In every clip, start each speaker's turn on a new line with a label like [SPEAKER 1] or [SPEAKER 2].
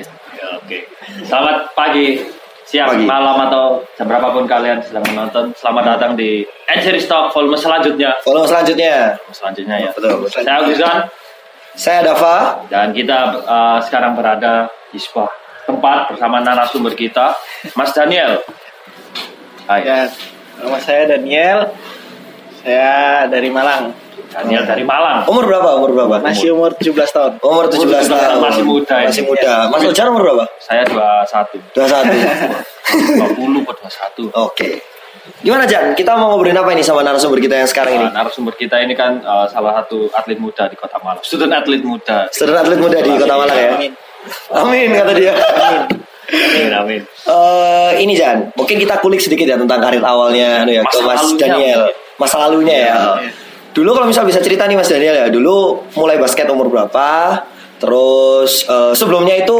[SPEAKER 1] Ya, Oke. Selamat pagi, siang,
[SPEAKER 2] Pagi.
[SPEAKER 1] malam atau jam berapapun kalian sedang menonton. Selamat datang di End Series Talk volume selanjutnya.
[SPEAKER 2] Follow selanjutnya. Iya,
[SPEAKER 1] Selanjutnya ya.
[SPEAKER 2] Betul, betul.
[SPEAKER 1] Saya Agustan
[SPEAKER 2] Saya Dava.
[SPEAKER 1] dan kita eh, sekarang berada di sebuah tempat bersama narasumber kita, Mas Daniel. Hai,
[SPEAKER 3] Ya, nama saya Daniel. Saya dari Malang.
[SPEAKER 1] Daniel dari Malang.
[SPEAKER 2] Umur berapa? Umur berapa?
[SPEAKER 3] Masih umur 17 tahun.
[SPEAKER 2] umur 17
[SPEAKER 1] Umur
[SPEAKER 2] tahun.
[SPEAKER 1] masih muda ini. Iya.
[SPEAKER 2] Masih muda. Mas Ujar umur berapa?
[SPEAKER 1] Saya 21. 20
[SPEAKER 2] 21.
[SPEAKER 1] ke 21.
[SPEAKER 2] Oke. Gimana Jan? Kita mau ngobrolin apa ini sama narasumber kita yang sekarang ini?
[SPEAKER 1] Nah, narasumber kita ini kan eh, salah satu atlet muda di Kota Malang. Student atlet muda.
[SPEAKER 2] Saudara atlet muda di Kota Malang ya.
[SPEAKER 3] Amin.
[SPEAKER 2] Amin kata dia.
[SPEAKER 1] Amin, amin.
[SPEAKER 2] Eh, ini Jan, mungkin kita kulik sedikit ya tentang karir awalnya anu ya, ke
[SPEAKER 1] Masa
[SPEAKER 2] Mas
[SPEAKER 1] lalunya.
[SPEAKER 2] Daniel, masa lalunya ya.
[SPEAKER 3] Iya.
[SPEAKER 2] Dulu kalau misal bisa cerita nih Mas Daniel ya, dulu mulai basket umur berapa? Terus eh, sebelumnya itu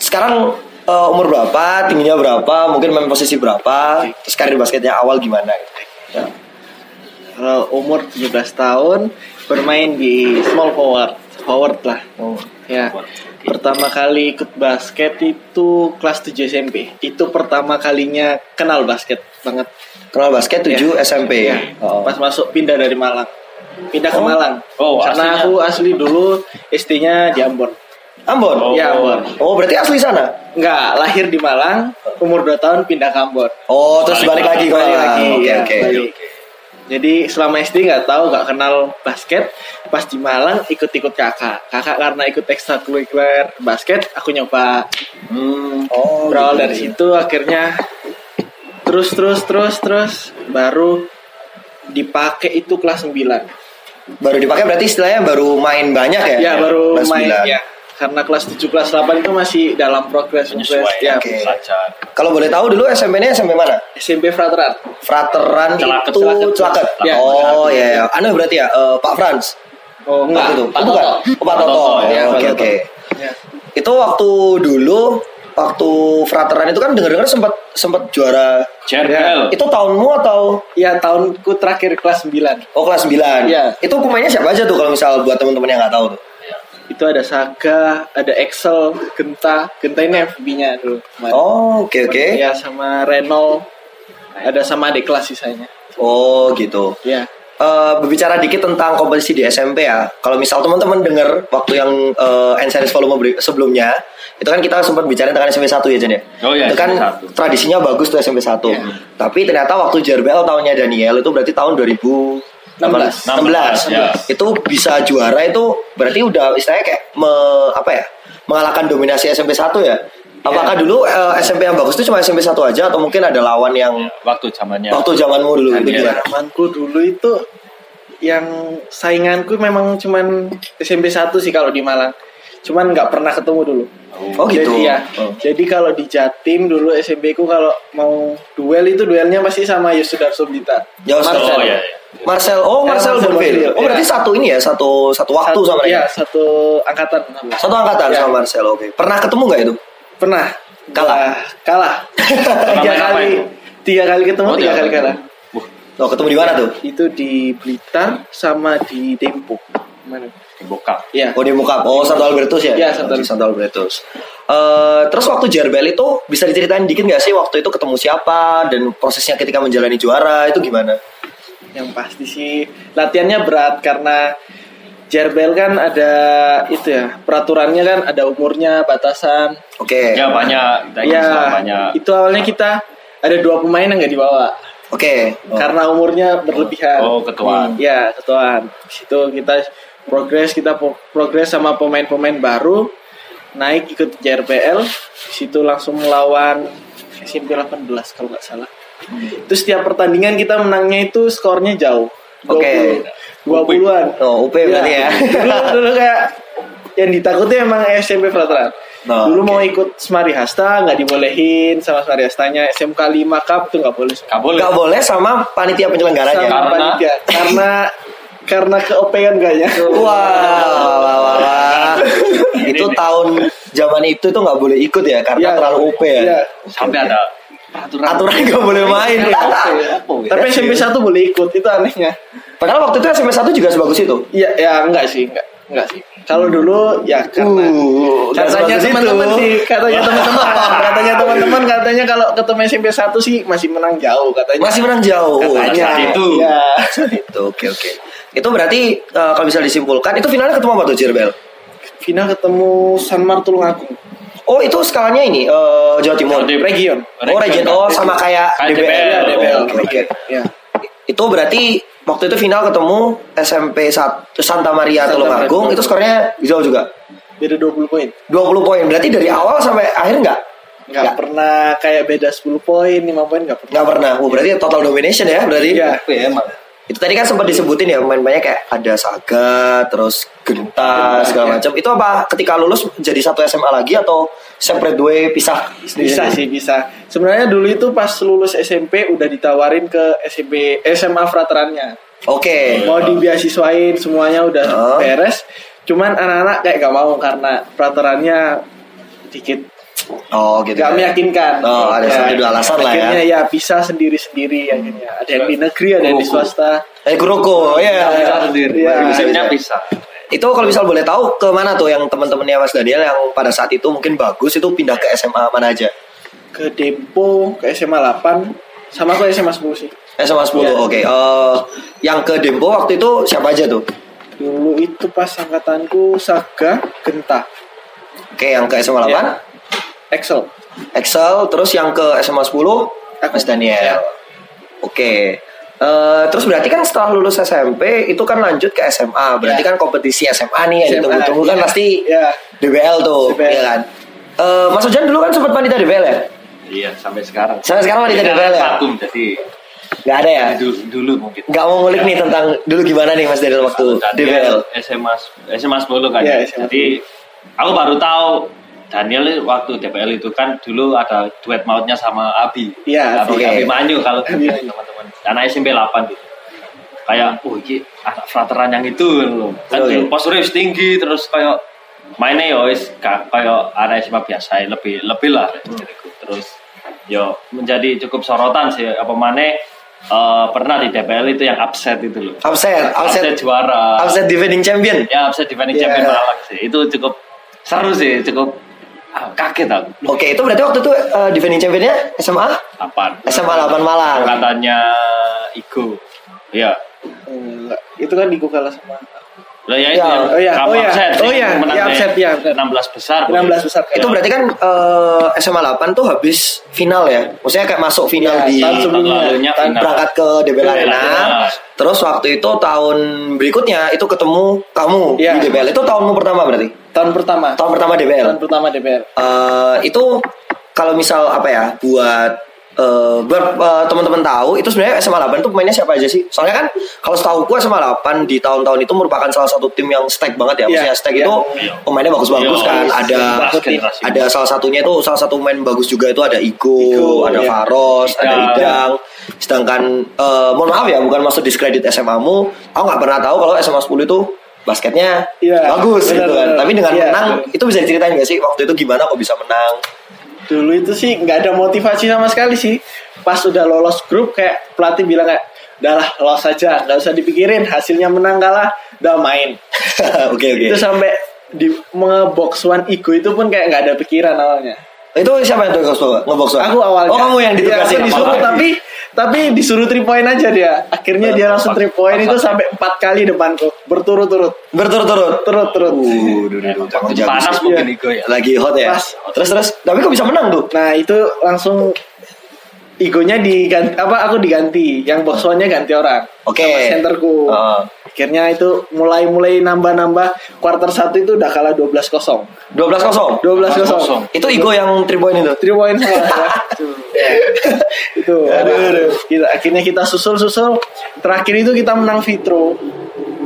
[SPEAKER 2] sekarang eh, umur berapa, tingginya berapa, mungkin main posisi berapa, terus karir basketnya awal gimana gitu. Ya.
[SPEAKER 3] Kalau umur 17 tahun bermain di small forward, forward lah. Ya. Pertama kali ikut basket itu kelas 7 SMP. Itu pertama kalinya kenal basket banget.
[SPEAKER 2] Kenal basket 7 SMP.
[SPEAKER 3] Ya.
[SPEAKER 2] Oh.
[SPEAKER 3] Iya. Pas masuk pindah dari Malang. Pindah ke
[SPEAKER 2] Oh.
[SPEAKER 3] Malang.
[SPEAKER 1] Oh, aslinya.
[SPEAKER 3] Karena aku asli dulu SD-nya di Ambon.
[SPEAKER 2] Ambon.
[SPEAKER 1] Oh.
[SPEAKER 3] Ya, Ambon.
[SPEAKER 2] Oh, berarti asli sana.
[SPEAKER 3] Enggak, lahir di Malang, umur 2 tahun pindah ke Ambon.
[SPEAKER 2] Oh, terus balik,
[SPEAKER 1] Balik
[SPEAKER 2] lagi ke
[SPEAKER 3] Balik
[SPEAKER 2] Malang.
[SPEAKER 3] lagi,
[SPEAKER 2] Oke,
[SPEAKER 3] ya,
[SPEAKER 2] oke.
[SPEAKER 3] balik. Jadi selama SD nggak tahu, nggak kenal basket. Pas di Malang ikut-ikut kakak. Kakak karena ikut ekstrakurikuler basket, aku nyoba.
[SPEAKER 1] Hmm,
[SPEAKER 2] Oh,
[SPEAKER 3] Berawal
[SPEAKER 2] gitu.
[SPEAKER 3] dari situ akhirnya terus terus terus terus baru dipakai itu kelas 9.
[SPEAKER 2] baru dipakai berarti istilahnya baru main banyak ya?
[SPEAKER 3] Ya, baru
[SPEAKER 2] Kelas
[SPEAKER 3] main
[SPEAKER 2] sembilan.
[SPEAKER 3] ya. Karena kelas 7 kelas 8 itu masih dalam progres progres.
[SPEAKER 1] penyesuaian
[SPEAKER 3] Ya,
[SPEAKER 2] oke.
[SPEAKER 1] belajar.
[SPEAKER 2] Kalau boleh tahu dulu SMP-nya SMP mana?
[SPEAKER 3] SMP Fraterat.
[SPEAKER 2] Frateran
[SPEAKER 1] Celaket,
[SPEAKER 2] itu
[SPEAKER 1] Celaket.
[SPEAKER 2] Celaket.
[SPEAKER 3] Ya,
[SPEAKER 2] oh ya, ya. Anu berarti ya eh, Pak Franz.
[SPEAKER 3] Oh,
[SPEAKER 2] Waktu
[SPEAKER 3] enggak.
[SPEAKER 2] itu.
[SPEAKER 3] Pak
[SPEAKER 2] Oh, bukan. Oh,
[SPEAKER 3] Toto.
[SPEAKER 2] Pak Toto.
[SPEAKER 3] ya,
[SPEAKER 2] Ya,
[SPEAKER 3] Pak
[SPEAKER 2] Oke
[SPEAKER 3] Toto.
[SPEAKER 2] oke.
[SPEAKER 3] Ya.
[SPEAKER 2] Itu waktu dulu waktu Frateran itu kan dengar-dengar sempat sempat juara.
[SPEAKER 1] Cerbel.
[SPEAKER 2] Itu tahunmu atau
[SPEAKER 3] Ya, tahunku terakhir kelas 9.
[SPEAKER 2] Oh kelas 9
[SPEAKER 3] Iya.
[SPEAKER 2] Itu pemainnya siapa aja tuh kalau misal buat teman-teman yang nggak tahu tuh.
[SPEAKER 3] itu ada Saga, ada Excel, Genta, Genta ini FB-nya dulu. kemarin.
[SPEAKER 2] Oh oke oke.
[SPEAKER 3] Ya sama Renault, ada sama adik kelas sisanya.
[SPEAKER 2] Oh gitu.
[SPEAKER 3] Ya,
[SPEAKER 2] Eh, berbicara dikit tentang kompetisi di SMP ya. Kalau misal teman-teman dengar waktu yang eh, End Series volume beri- sebelumnya, itu kan kita sempat bicara tentang SMP 1 ya Jen ya.
[SPEAKER 1] Oh, iya,
[SPEAKER 2] itu kan
[SPEAKER 1] SMP 1.
[SPEAKER 2] tradisinya bagus tuh SMP 1.
[SPEAKER 1] Iya.
[SPEAKER 2] Tapi ternyata waktu JRBL tahunnya Daniel itu berarti tahun 2016. 16.
[SPEAKER 3] 16.
[SPEAKER 1] Ya.
[SPEAKER 2] Itu bisa juara itu berarti udah istilahnya kayak me- apa ya? Mengalahkan dominasi SMP 1 ya.
[SPEAKER 1] Iya.
[SPEAKER 2] Apakah dulu eh, SMP yang bagus itu cuma SMP 1 aja atau mungkin ada lawan yang
[SPEAKER 1] Waktu zamannya.
[SPEAKER 2] waktu zamanmu dulu
[SPEAKER 1] Iya.
[SPEAKER 2] itu
[SPEAKER 1] Daniel.
[SPEAKER 2] gimana?
[SPEAKER 3] zamanku dulu itu yang sainganku memang cuman SMP 1 sih kalau di Malang. Cuman nggak pernah ketemu dulu.
[SPEAKER 2] Oh gitu.
[SPEAKER 3] Jadi ya,
[SPEAKER 2] Oh.
[SPEAKER 3] jadi kalau di Jatim dulu SMP ku kalau mau duel itu duelnya pasti sama Yosudar Sumbita.
[SPEAKER 2] Jauh sekali.
[SPEAKER 1] Oh ya. ya.
[SPEAKER 2] Marcel, oh
[SPEAKER 3] Ya,
[SPEAKER 2] Marcel
[SPEAKER 3] Marcel
[SPEAKER 2] Bonville.
[SPEAKER 3] Bonville,
[SPEAKER 2] Oh berarti
[SPEAKER 3] ya.
[SPEAKER 2] satu ini ya, satu satu waktu
[SPEAKER 3] satu,
[SPEAKER 2] sama
[SPEAKER 3] ya,
[SPEAKER 2] mereka.
[SPEAKER 3] satu angkatan.
[SPEAKER 2] Satu angkatan
[SPEAKER 3] Ya.
[SPEAKER 2] sama Marcel, oke. Pernah ketemu nggak itu?
[SPEAKER 3] Pernah
[SPEAKER 2] Kalah?
[SPEAKER 3] Wah, kalah. tiga
[SPEAKER 1] Turnamen apa
[SPEAKER 3] kali,
[SPEAKER 1] itu?
[SPEAKER 3] tiga kali ketemu,
[SPEAKER 1] Oh,
[SPEAKER 3] tiga kali kalah.
[SPEAKER 1] Wah,
[SPEAKER 2] Oh ketemu di mana tuh?
[SPEAKER 3] Itu di Blitar sama di Dempo. Mana?
[SPEAKER 1] dibuka.
[SPEAKER 3] Ya.
[SPEAKER 2] Oh di muka. Oh Santo Albertus ya?
[SPEAKER 3] Ya,
[SPEAKER 2] Oh,
[SPEAKER 3] Santo
[SPEAKER 2] di Santo Albertus. Eh, terus waktu Jarbel itu bisa diceritain dikit nggak sih waktu itu ketemu siapa dan prosesnya ketika menjalani juara itu gimana?
[SPEAKER 3] Yang pasti sih latihannya berat karena Jerbel kan ada itu ya peraturannya kan ada umurnya batasan.
[SPEAKER 2] Oke,
[SPEAKER 1] Ya banyak. Thank you,
[SPEAKER 3] ya
[SPEAKER 1] banyak.
[SPEAKER 3] itu awalnya kita ada dua pemain yang nggak dibawa
[SPEAKER 2] oke.
[SPEAKER 3] karena umurnya berlebihan.
[SPEAKER 1] Oh, ketuaan.
[SPEAKER 3] Ya, ketuaan. Di situ kita progres, kita po- progres sama pemain-pemain baru naik ikut JRPL. Di situ langsung melawan SMP 18 kalau nggak salah. Itu setiap pertandingan kita menangnya itu skornya jauh.
[SPEAKER 2] Oke.
[SPEAKER 3] 20 an
[SPEAKER 2] Oh UP berarti ya?
[SPEAKER 3] dulu, dulu kayak yang ditakuti emang SMP Veteran.
[SPEAKER 2] Nah,
[SPEAKER 3] dulu mau ikut Semari Hasta nggak dibolehin sama Semari Hastanya SMK 5 Cup tuh nggak boleh
[SPEAKER 1] Gak boleh.
[SPEAKER 2] Gak boleh sama panitia penyelenggaranya.
[SPEAKER 3] sama
[SPEAKER 1] Karena-
[SPEAKER 3] panitia. karena karena keopean kayaknya
[SPEAKER 2] Wah, wah, wah, wah.
[SPEAKER 1] Ini
[SPEAKER 2] itu
[SPEAKER 1] nih.
[SPEAKER 2] tahun zaman itu itu nggak boleh ikut ya karena
[SPEAKER 3] Iya.
[SPEAKER 2] terlalu OP ya.
[SPEAKER 3] Iya.
[SPEAKER 1] Sampai ada peraturan.
[SPEAKER 2] Aturan nggak boleh main.
[SPEAKER 3] ya. Iya.
[SPEAKER 2] ya?
[SPEAKER 3] tapi SMP 1 boleh ikut itu anehnya
[SPEAKER 2] Padahal waktu itu SMP 1 juga sebagus itu.
[SPEAKER 3] iya ya enggak sih enggak enggak sih Kalau
[SPEAKER 2] Hmm.
[SPEAKER 3] dulu ya karena
[SPEAKER 2] Uh,
[SPEAKER 3] katanya
[SPEAKER 2] nggak sebagus
[SPEAKER 3] teman-teman
[SPEAKER 2] itu.
[SPEAKER 3] sih, katanya teman-teman, katanya teman-teman katanya kalau ketemu SMP 1 sih masih menang jauh katanya.
[SPEAKER 2] Masih menang jauh. Oh,
[SPEAKER 3] katanya.
[SPEAKER 1] saat itu.
[SPEAKER 3] Iya.
[SPEAKER 2] Itu oke oke. Itu berarti eh, kalau bisa disimpulkan itu finalnya ketemu apa tuh Cirebel?
[SPEAKER 3] Final ketemu Sanmar Tulungagung.
[SPEAKER 2] Oh itu skalanya ini eh, Jawa
[SPEAKER 1] Jawa
[SPEAKER 2] Timur.
[SPEAKER 1] Timur.
[SPEAKER 3] Region.
[SPEAKER 2] Oh Region oh sama kayak
[SPEAKER 1] Kayak
[SPEAKER 2] DBL.
[SPEAKER 1] DBL.
[SPEAKER 2] Oh, oke, oke.
[SPEAKER 3] Ya.
[SPEAKER 2] Itu berarti waktu itu final ketemu SMP Sat- Santa Maria
[SPEAKER 3] Santa
[SPEAKER 2] Tulungagung
[SPEAKER 3] Maria.
[SPEAKER 2] itu skornya jauh juga.
[SPEAKER 3] Beda 20 poin.
[SPEAKER 2] 20 poin. Berarti dari awal sampai akhir nggak?
[SPEAKER 3] Nggak pernah kayak beda 10 poin, 5 poin nggak pernah.
[SPEAKER 2] Nggak pernah. Oh, berarti total domination ya berarti.
[SPEAKER 3] Iya.
[SPEAKER 4] emang.
[SPEAKER 2] Itu tadi kan sempat disebutin ya pemain-pemainnya kayak ada Saga, terus
[SPEAKER 3] Iya,
[SPEAKER 2] Genta, segala macam. Itu apa ketika lulus jadi satu SMA lagi atau separate way pisah?
[SPEAKER 3] Bisa
[SPEAKER 2] Iya.
[SPEAKER 3] sih bisa. Sebenarnya dulu itu pas lulus SMP udah ditawarin ke SMP SMA fraterannya.
[SPEAKER 2] Oke.
[SPEAKER 3] Mau dibiasiswain semuanya udah
[SPEAKER 2] Oh.
[SPEAKER 3] beres. Cuman anak-anak kayak gak mau karena fraterannya dikit
[SPEAKER 2] Oh gitu.
[SPEAKER 3] gak meyakinkan.
[SPEAKER 2] Oh, ada
[SPEAKER 3] Ya,
[SPEAKER 2] satu dua alasan lah ya.
[SPEAKER 3] Akhirnya ya bisa sendiri-sendiri akhirnya. Ada yang di negeri, ada yang di swasta.
[SPEAKER 2] Eh Kuroko, ya.
[SPEAKER 3] Bisa sendiri. Iya.
[SPEAKER 1] Musimnya bisa.
[SPEAKER 2] Itu kalau misal boleh tahu ke mana tuh yang teman-temannya Mas Daniel yang pada saat itu mungkin bagus itu pindah ke SMA mana aja?
[SPEAKER 3] Ke Dempo, ke SMA 8, sama ke SMA 10 sih.
[SPEAKER 2] SMA 10.
[SPEAKER 3] Iya.
[SPEAKER 2] Oke. Eh, yang ke Dempo waktu itu siapa aja tuh?
[SPEAKER 3] Dulu itu pas angkatanku Saga Genta,
[SPEAKER 2] Oke, yang ke SMA 8
[SPEAKER 3] Iya. Excel.
[SPEAKER 2] Excel, terus yang ke SMA 10 Mas
[SPEAKER 3] Iya.
[SPEAKER 2] Daniel. Oke. Eh, terus berarti kan setelah lulus SMP itu kan lanjut ke SMA. Berarti
[SPEAKER 3] Ya.
[SPEAKER 2] kan kompetisi SMA nih yang
[SPEAKER 3] SMA,
[SPEAKER 2] ditunggu-tunggu kan
[SPEAKER 3] iya.
[SPEAKER 2] pasti
[SPEAKER 3] Iya.
[SPEAKER 2] DBL tuh,
[SPEAKER 3] DBL.
[SPEAKER 2] iya kan? Eh, Mas Ojan dulu kan sempat wanita DBL ya?
[SPEAKER 1] Iya, sampai sekarang.
[SPEAKER 2] Sampai sekarang wanita DBL ya?
[SPEAKER 1] Vakum, jadi
[SPEAKER 2] Gak ada ya?
[SPEAKER 1] dulu, dulu mungkin.
[SPEAKER 2] Gak mau ngulik nih tentang dulu gimana nih Mas Daniel waktu DBL.
[SPEAKER 1] Daniel SMA SMA 10 kan.
[SPEAKER 3] Iya, SMA.
[SPEAKER 1] Jadi aku baru tahu Daniel waktu DPL itu kan dulu ada duet mautnya sama Abi.
[SPEAKER 3] Iya,
[SPEAKER 1] Abi,
[SPEAKER 2] oke.
[SPEAKER 1] Abi Manyu kalau gitu ya,
[SPEAKER 3] Abi Manyu.
[SPEAKER 1] teman-teman. Karena SMP 8 gitu. Kayak, oh iki anak frateran yang itu loh. Kan
[SPEAKER 2] Oke.
[SPEAKER 1] dulu posturnya wis tinggi terus kayak mainnya ya wis ka- kayak anak SMA biasa lebih lebih lah. Terus yo menjadi cukup sorotan sih apa mana eh, pernah di DPL itu yang upset itu loh.
[SPEAKER 2] Upset,
[SPEAKER 1] Upset,
[SPEAKER 2] upset,
[SPEAKER 1] juara.
[SPEAKER 2] upset defending champion.
[SPEAKER 1] Ya upset defending
[SPEAKER 3] Iya.
[SPEAKER 1] champion Malang sih. Itu cukup seru sih, cukup ah, kaget aku.
[SPEAKER 2] Oke, itu berarti waktu itu eh, defending championnya SMA
[SPEAKER 1] Apaan?
[SPEAKER 2] SMA 8 Malang.
[SPEAKER 1] Katanya Igo. Iya.
[SPEAKER 3] Enggak. Itu kan Digo kalah sama
[SPEAKER 1] Lah ya
[SPEAKER 2] Ya,
[SPEAKER 1] itu yang
[SPEAKER 3] oh ya,
[SPEAKER 1] kamu
[SPEAKER 3] oh ya,
[SPEAKER 1] upset.
[SPEAKER 3] oh
[SPEAKER 1] yang
[SPEAKER 3] ya,
[SPEAKER 1] menang
[SPEAKER 3] ya,
[SPEAKER 1] deh.
[SPEAKER 3] upset, ya, benar.
[SPEAKER 1] 16 besar.
[SPEAKER 3] 16 besar.
[SPEAKER 2] Itu berarti kan eh, SMA 8 tuh habis final ya. Maksudnya kayak masuk final
[SPEAKER 3] Iya,
[SPEAKER 2] di kan
[SPEAKER 3] tahun
[SPEAKER 1] tahun
[SPEAKER 3] sebelumnya.
[SPEAKER 1] lalunya
[SPEAKER 3] Tahun
[SPEAKER 1] final.
[SPEAKER 2] berangkat ke DBL
[SPEAKER 1] DBL
[SPEAKER 2] Arena.
[SPEAKER 1] Arena.
[SPEAKER 2] Terus waktu itu tahun berikutnya itu ketemu kamu
[SPEAKER 3] Iya.
[SPEAKER 2] di DBL. Itu tahunmu pertama berarti.
[SPEAKER 3] Tahun pertama.
[SPEAKER 2] Tahun pertama DBL.
[SPEAKER 3] Tahun pertama DPR.
[SPEAKER 2] Eh, itu kalau misal apa ya buat eh, buat eh, teman-teman tahu itu sebenarnya SMA 8 itu pemainnya siapa aja sih? Soalnya kan kalau setahu gua SMA 8 di tahun-tahun itu merupakan salah satu tim yang stack banget ya.
[SPEAKER 3] Iya,
[SPEAKER 2] Maksudnya stack
[SPEAKER 3] iya.
[SPEAKER 2] itu
[SPEAKER 1] Iya.
[SPEAKER 2] pemainnya bagus-bagus
[SPEAKER 1] Iya,
[SPEAKER 2] kan. Ada
[SPEAKER 1] bagus generasi.
[SPEAKER 2] ada salah satunya itu salah satu pemain bagus juga itu ada Igo,
[SPEAKER 3] Igo,
[SPEAKER 2] ada
[SPEAKER 3] iya.
[SPEAKER 2] Faros, ada
[SPEAKER 1] Idang.
[SPEAKER 2] Idang. Sedangkan eh, mohon maaf ya bukan maksud diskredit SMA-mu, aku nggak pernah tahu kalau SMA 10 itu basketnya
[SPEAKER 3] Iya,
[SPEAKER 2] bagus
[SPEAKER 3] benar,
[SPEAKER 2] gitu kan.
[SPEAKER 3] benar.
[SPEAKER 2] Tapi dengan
[SPEAKER 3] Iya,
[SPEAKER 2] menang
[SPEAKER 3] benar.
[SPEAKER 2] itu bisa diceritain gak sih waktu itu gimana kok bisa menang?
[SPEAKER 3] Dulu itu sih nggak ada motivasi sama sekali sih. Pas udah lolos grup kayak pelatih bilang kayak, udahlah lolos aja, nggak usah dipikirin. Hasilnya menang kalah, udah main.
[SPEAKER 2] Oke oke.
[SPEAKER 3] Itu sampai di ngebox one ego itu pun kayak nggak ada pikiran awalnya.
[SPEAKER 2] Itu siapa yang tugas bawa ngebox bawa?
[SPEAKER 3] Aku awalnya.
[SPEAKER 2] Oh kamu yang
[SPEAKER 3] Iya,
[SPEAKER 2] ditugasin.
[SPEAKER 3] aku disuruh
[SPEAKER 1] apalagi.
[SPEAKER 3] tapi tapi disuruh three point aja dia. Akhirnya dia langsung three point itu sampai empat kali depanku berturut-turut,
[SPEAKER 2] Berturut-turut.
[SPEAKER 3] turut-turut.
[SPEAKER 2] Uh, duh, duh, duh, kamu jago
[SPEAKER 1] Panas
[SPEAKER 2] sih.
[SPEAKER 1] mungkin
[SPEAKER 3] Iya.
[SPEAKER 1] Igo ya.
[SPEAKER 2] Lagi hot ya.
[SPEAKER 3] Pas.
[SPEAKER 2] Terus terus. Tapi kok bisa menang tuh?
[SPEAKER 3] Nah itu langsung egonya diganti apa aku diganti yang box one-nya ganti orang
[SPEAKER 2] Oke. Ah.
[SPEAKER 3] sama senterku
[SPEAKER 2] Heeh.
[SPEAKER 3] akhirnya itu mulai mulai nambah nambah quarter satu itu udah kalah 12-0 12-0
[SPEAKER 2] 12 kosong. Itu Igo yang 3 point itu.
[SPEAKER 3] three point sama salah. itu Kita, akhirnya kita susul susul terakhir itu kita menang Vitro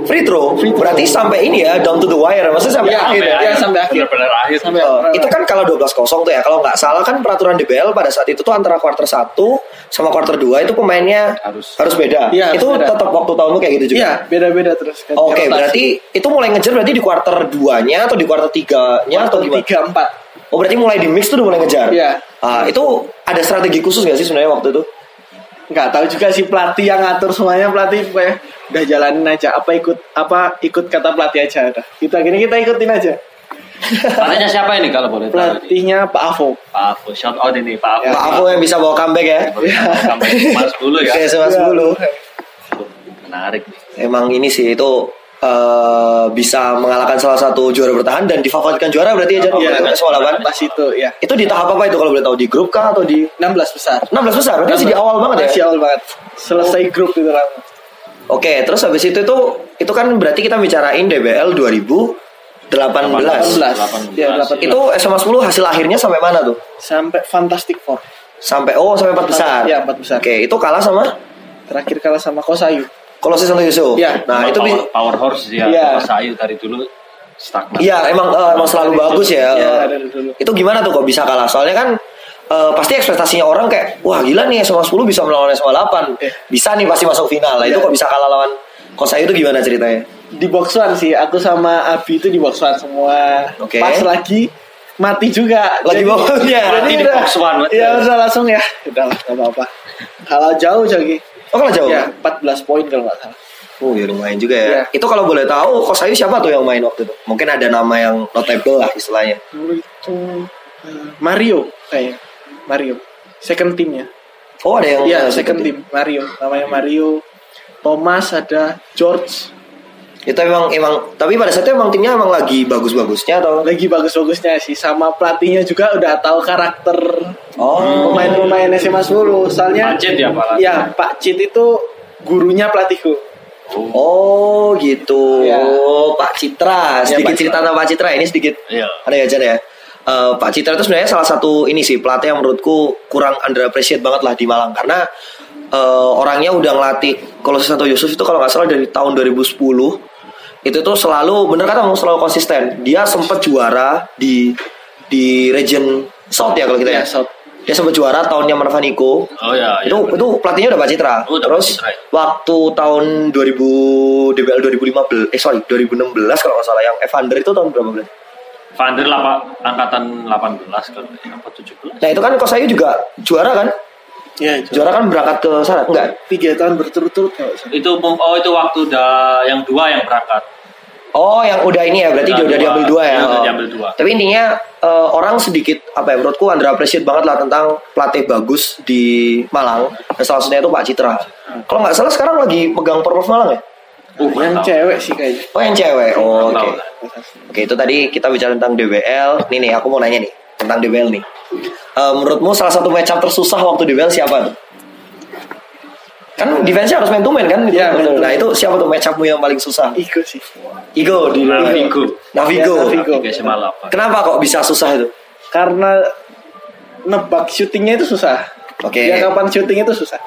[SPEAKER 2] Free throw. Berarti sampai ini ya down to the wire. Maksudnya sampai
[SPEAKER 3] Iya,
[SPEAKER 2] akhir ya.
[SPEAKER 3] iya, sampai akhir.
[SPEAKER 1] Benar-benar akhir.
[SPEAKER 3] sampai
[SPEAKER 2] Oh, itu kan kalau 12-0 tuh ya kalau nggak salah kan peraturan DBL pada saat itu tuh antara quarter 1 sama quarter 2 itu pemainnya
[SPEAKER 1] Harus.
[SPEAKER 2] beda
[SPEAKER 3] Iya,
[SPEAKER 2] itu
[SPEAKER 3] harus beda.
[SPEAKER 2] tetap waktu tahunmu kayak gitu juga
[SPEAKER 3] iya beda beda terus
[SPEAKER 2] oke
[SPEAKER 3] Rotasi.
[SPEAKER 2] berarti itu mulai ngejar berarti di quarter 2 nya atau di quarter 3 nya atau
[SPEAKER 3] Quarter
[SPEAKER 2] gimana
[SPEAKER 3] tiga empat
[SPEAKER 2] oh berarti mulai di mix tuh udah mulai ngejar
[SPEAKER 3] Iya.
[SPEAKER 2] Ah, itu ada strategi khusus nggak sih sebenarnya waktu itu
[SPEAKER 3] nggak tahu juga sih pelatih yang ngatur semuanya pelatih pokoknya udah jalanin aja apa ikut apa ikut kata pelatih aja udah kita gini kita ikutin aja
[SPEAKER 1] Pelatihnya siapa ini kalau boleh tahu? ini?
[SPEAKER 3] pelatihnya Pak Avo
[SPEAKER 1] Pak Apo, shout out ini Pak Apo.
[SPEAKER 2] Pak Apo yang bisa bawa comeback ya.
[SPEAKER 1] Sampai mas dulu Iya, ya.
[SPEAKER 2] Oke,
[SPEAKER 3] Iya.
[SPEAKER 2] semas dulu.
[SPEAKER 1] Menarik nih.
[SPEAKER 2] Emang ini sih itu eh, bisa mengalahkan salah satu juara bertahan dan difavoritkan juara berarti ya Jan?
[SPEAKER 1] Iya,
[SPEAKER 2] Untuk soal delapan.
[SPEAKER 3] pas itu ya
[SPEAKER 2] Itu di tahap apa itu kalau boleh tahu di grup kah atau di
[SPEAKER 3] 16 besar
[SPEAKER 2] 16 besar? Berarti masih di awal banget ya.
[SPEAKER 3] masih awal banget selesai grup itu lah
[SPEAKER 2] Oke, terus habis itu itu itu kan berarti kita bicarain DBL 2018.
[SPEAKER 1] 18.
[SPEAKER 3] 18 ya 18
[SPEAKER 2] Itu SMA 10 hasil akhirnya sampai mana tuh?
[SPEAKER 3] sampai Fantastic Four
[SPEAKER 2] Sampai oh sampai empat besar.
[SPEAKER 3] Iya, empat besar.
[SPEAKER 2] Oke, itu kalah sama
[SPEAKER 3] terakhir kalah sama Kosayu
[SPEAKER 2] Kolose Santo Yusuf.
[SPEAKER 3] Iya.
[SPEAKER 2] Nah, itu
[SPEAKER 1] power,
[SPEAKER 2] bi-
[SPEAKER 1] power horse ya. Yeah.
[SPEAKER 3] Iya.
[SPEAKER 1] Sayu dari dulu stagnan.
[SPEAKER 2] Iya emang eh, emang selalu
[SPEAKER 3] Dari
[SPEAKER 2] bagus
[SPEAKER 3] dulu.
[SPEAKER 2] ya.
[SPEAKER 3] Iya,
[SPEAKER 2] Eh,
[SPEAKER 3] dari dulu.
[SPEAKER 2] itu gimana tuh kok bisa kalah? Soalnya kan eh, pasti ekspektasinya orang kayak wah gila nih SMA 10 bisa melawan SMA 8.
[SPEAKER 3] Iya.
[SPEAKER 2] Bisa nih pasti masuk final. Lah itu
[SPEAKER 3] Iya.
[SPEAKER 2] kok bisa kalah lawan Kosayu itu gimana ceritanya?
[SPEAKER 3] di box one sih aku sama Abi itu di box one semua
[SPEAKER 2] Oke.
[SPEAKER 3] pas lagi mati juga
[SPEAKER 2] Lagi
[SPEAKER 3] Jadi-
[SPEAKER 2] box one, ya.
[SPEAKER 3] jadi
[SPEAKER 1] Mati di
[SPEAKER 3] udah-
[SPEAKER 1] box one, betul.
[SPEAKER 3] ya udah langsung ya udah lah nggak apa-apa kalau jauh jadi
[SPEAKER 2] Oh kalah jauh.
[SPEAKER 3] ya 14 poin kalau nggak salah
[SPEAKER 2] Oh ya lumayan juga ya.
[SPEAKER 3] Iya.
[SPEAKER 2] Itu kalau boleh tahu Kosayu siapa tuh yang main waktu itu? Mungkin ada nama yang notable lah istilahnya.
[SPEAKER 3] dulu itu eh, Mario kayaknya Mario second teamnya
[SPEAKER 2] Oh ada yang
[SPEAKER 3] Iya
[SPEAKER 2] eh,
[SPEAKER 3] second team Mario namanya Mario Thomas ada George
[SPEAKER 2] Itu emang emang tapi pada saat itu emang timnya emang lagi bagus-bagusnya atau
[SPEAKER 3] lagi bagus-bagusnya sih sama pelatihnya juga udah tahu karakter
[SPEAKER 2] Oh.
[SPEAKER 3] pemain-pemain SMA 10 soalnya
[SPEAKER 1] Macet ya Pak.
[SPEAKER 2] Iya.
[SPEAKER 3] ya Pak Cit itu gurunya pelatihku
[SPEAKER 1] Oh.
[SPEAKER 2] Oh gitu.
[SPEAKER 3] Iya.
[SPEAKER 2] Oh, Pak Citra,
[SPEAKER 3] Iya,
[SPEAKER 2] sedikit
[SPEAKER 3] Pak
[SPEAKER 2] cerita tentang Pak Citra ini sedikit.
[SPEAKER 1] Iya.
[SPEAKER 2] Ada ya Jan ya. Eh, Pak Citra itu sebenarnya salah satu ini sih pelatih yang menurutku kurang underappreciate banget lah di Malang karena eh, orangnya udah ngelatih kalau Santo Yusuf itu kalau nggak salah dari tahun 2010 itu tuh selalu bener kata kamu selalu konsisten. Dia sempat juara di di region South ya kalau kita ya.
[SPEAKER 3] Iya, South.
[SPEAKER 2] Dia sempat juara tahunnya Marvaniko
[SPEAKER 1] Oh ya.
[SPEAKER 2] itu itu pelatihnya udah Pak Citra.
[SPEAKER 1] Oh, udah
[SPEAKER 2] Terus
[SPEAKER 1] Pak Citra, ya.
[SPEAKER 2] waktu tahun 2000 DBL 2015 eh sorry 2016 kalau nggak salah yang Evander itu tahun berapa belas?
[SPEAKER 1] Vander lapa, angkatan 18 kalau nggak salah, apa 17.
[SPEAKER 2] Nah itu kan Kosayu juga juara kan?
[SPEAKER 3] ya
[SPEAKER 2] Juara kan berangkat ke sana enggak?
[SPEAKER 3] tiga tahun berturut-turut kalau nggak salah.
[SPEAKER 1] Itu mung- oh itu waktu da, yang dua yang berangkat.
[SPEAKER 2] Oh yang udah ini ya berarti
[SPEAKER 1] Udah
[SPEAKER 2] dia udah
[SPEAKER 1] dua.
[SPEAKER 2] diambil dua ya.
[SPEAKER 1] Iya, udah
[SPEAKER 2] Oh.
[SPEAKER 1] diambil dua.
[SPEAKER 2] Tapi intinya eh, orang sedikit apa ya menurutku underappreciate banget lah tentang pelatih bagus di Malang. Dan salah satunya itu Pak Citra. Kalau nggak salah sekarang lagi megang Porprov Malang ya?
[SPEAKER 1] Uh,
[SPEAKER 3] yang
[SPEAKER 1] mantap.
[SPEAKER 3] cewek sih kayaknya
[SPEAKER 2] Oh yang cewek. Oh, oke.
[SPEAKER 1] Tahu.
[SPEAKER 2] Oke itu tadi kita bicara tentang DBL. Nih nih aku mau nanya nih tentang DBL nih. Eh, menurutmu salah satu match up tersusah waktu DBL siapa tuh? Kan defense harus main to main kan?
[SPEAKER 3] Iya, main to
[SPEAKER 2] nah
[SPEAKER 3] main.
[SPEAKER 2] itu siapa tuh match upmu yang paling susah?
[SPEAKER 3] Igo sih
[SPEAKER 2] Igo di
[SPEAKER 1] Navigo.
[SPEAKER 2] Navigo.
[SPEAKER 3] Ya, Navigo.
[SPEAKER 1] Tiga semalam.
[SPEAKER 2] Kenapa kok bisa susah itu?
[SPEAKER 3] karena nebak syutingnya itu susah
[SPEAKER 2] Oke.
[SPEAKER 3] dia kapan syuting itu susah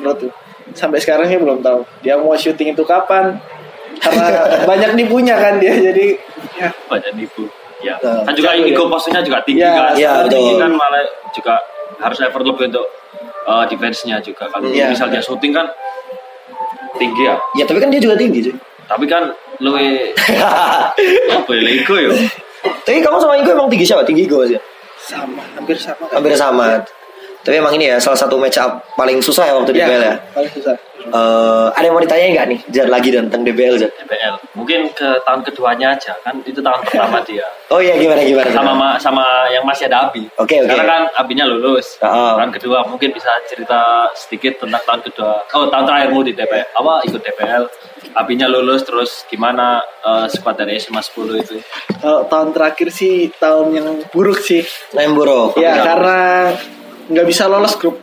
[SPEAKER 3] menurutku sampai sekarang sih belum tahu dia mau syuting itu kapan karena banyak dipunya kan dia jadi ya,
[SPEAKER 1] Badan ibu. Ya.
[SPEAKER 2] Nah,
[SPEAKER 1] Kan juga
[SPEAKER 3] jauh ya.
[SPEAKER 1] ego posnya juga tinggi
[SPEAKER 3] Iya,
[SPEAKER 1] kan.
[SPEAKER 2] iya,
[SPEAKER 1] Kalau tinggi
[SPEAKER 2] betul.
[SPEAKER 1] kan malah juga harus effort lebih untuk eh, defense-nya juga. Kalau
[SPEAKER 3] Iya.
[SPEAKER 1] misal dia shooting kan tinggi ya.
[SPEAKER 2] Ya tapi kan dia juga tinggi cuy.
[SPEAKER 1] Tapi kan luwe apa ya ego ya.
[SPEAKER 2] tapi kamu sama Igo emang tinggi siapa? Tinggi Igo masih?
[SPEAKER 3] sama hampir sama kan
[SPEAKER 2] Hampir sama. Tapi emang ini ya salah satu match up paling susah ya waktu DBL ya.
[SPEAKER 3] paling susah
[SPEAKER 2] Eh, ada yang mau ditanyain nggak nih? Jan lagi dan tentang DBL Jan.
[SPEAKER 1] DBL. Mungkin ke tahun keduanya aja kan itu tahun pertama dia.
[SPEAKER 2] Oh iya gimana gimana? Jan?
[SPEAKER 1] Sama ma- sama yang masih ada Abi.
[SPEAKER 2] Oke, oke.
[SPEAKER 1] Karena kan Abinya lulus.
[SPEAKER 2] Ah, ah.
[SPEAKER 1] Tahun kedua mungkin bisa cerita sedikit tentang tahun kedua. Oh, tahun terakhirmu di DBL. Apa ikut DBL? Abinya lulus terus gimana eh, squad dari SMA 10 itu?
[SPEAKER 3] kalau tahun terakhir sih tahun yang buruk sih
[SPEAKER 2] Nemburo.
[SPEAKER 3] ya
[SPEAKER 1] Iya.
[SPEAKER 3] karena nggak bisa lolos grup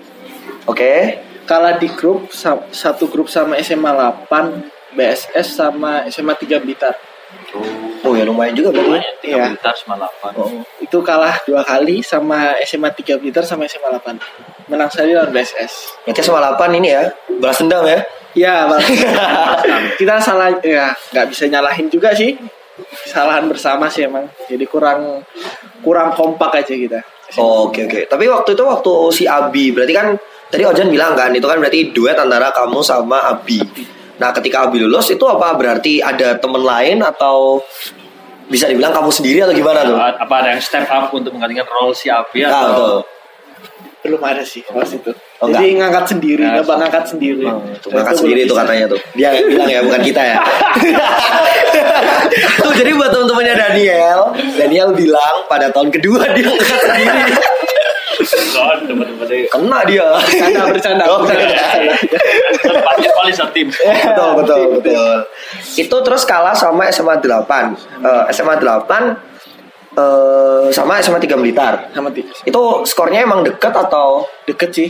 [SPEAKER 2] Oke.
[SPEAKER 3] kalah di grup sa- satu grup sama SMA 8 BSS sama SMA 3 Blitar
[SPEAKER 1] Oh,
[SPEAKER 2] Oh ya lumayan juga berarti.
[SPEAKER 1] lumayan 3
[SPEAKER 3] Iya.
[SPEAKER 1] Blitar 98.
[SPEAKER 2] Oh.
[SPEAKER 3] itu kalah dua kali sama SMA 3 Blitar sama SMA 8 menang sekali lawan BSS
[SPEAKER 2] Berarti sama 8 ini ya. Balas dendam ya.
[SPEAKER 3] ya Bang. kita salah ya nggak bisa nyalahin juga sih kesalahan bersama sih emang jadi kurang kurang kompak aja kita
[SPEAKER 2] Oh, Oke oke. Tapi waktu itu waktu si Abi berarti kan tadi Ojan bilang kan itu kan berarti duet antara kamu sama Abi. Nah ketika Abi lulus itu apa berarti ada temen lain atau bisa
[SPEAKER 1] Iya,
[SPEAKER 2] dibilang kamu sendiri atau gimana tuh?
[SPEAKER 1] Apa ada yang step up untuk menggantikan role si Abi
[SPEAKER 2] Nah,
[SPEAKER 1] atau
[SPEAKER 2] betul.
[SPEAKER 3] belum ada sih pas itu.
[SPEAKER 2] Oh,
[SPEAKER 3] Jadi ngangkat sendiri,
[SPEAKER 1] Nah,
[SPEAKER 3] dapat ngangkat sendiri.
[SPEAKER 2] Oh,
[SPEAKER 3] Nah,
[SPEAKER 2] ngangkat
[SPEAKER 3] itu
[SPEAKER 2] sendiri
[SPEAKER 3] belum
[SPEAKER 2] itu
[SPEAKER 3] bisa.
[SPEAKER 2] katanya tuh. Dia yang bilang ya, bukan kita ya. tuh jadi buat teman-temannya Daniel, Daniel bilang pada tahun kedua dia ngangkat sendiri.
[SPEAKER 1] God, teman-teman.
[SPEAKER 2] Kena dia.
[SPEAKER 3] Bercanda, bercanda.
[SPEAKER 2] Oh, bercanda.
[SPEAKER 1] Pasti Polisher Team.
[SPEAKER 2] betul betul betul. Itu terus kalah sama SMA 8. Eh, SMA 8 eh, sama SMA 3 Blitar.
[SPEAKER 3] Sama tiga.
[SPEAKER 2] Itu skornya emang deket atau
[SPEAKER 3] Deket sih.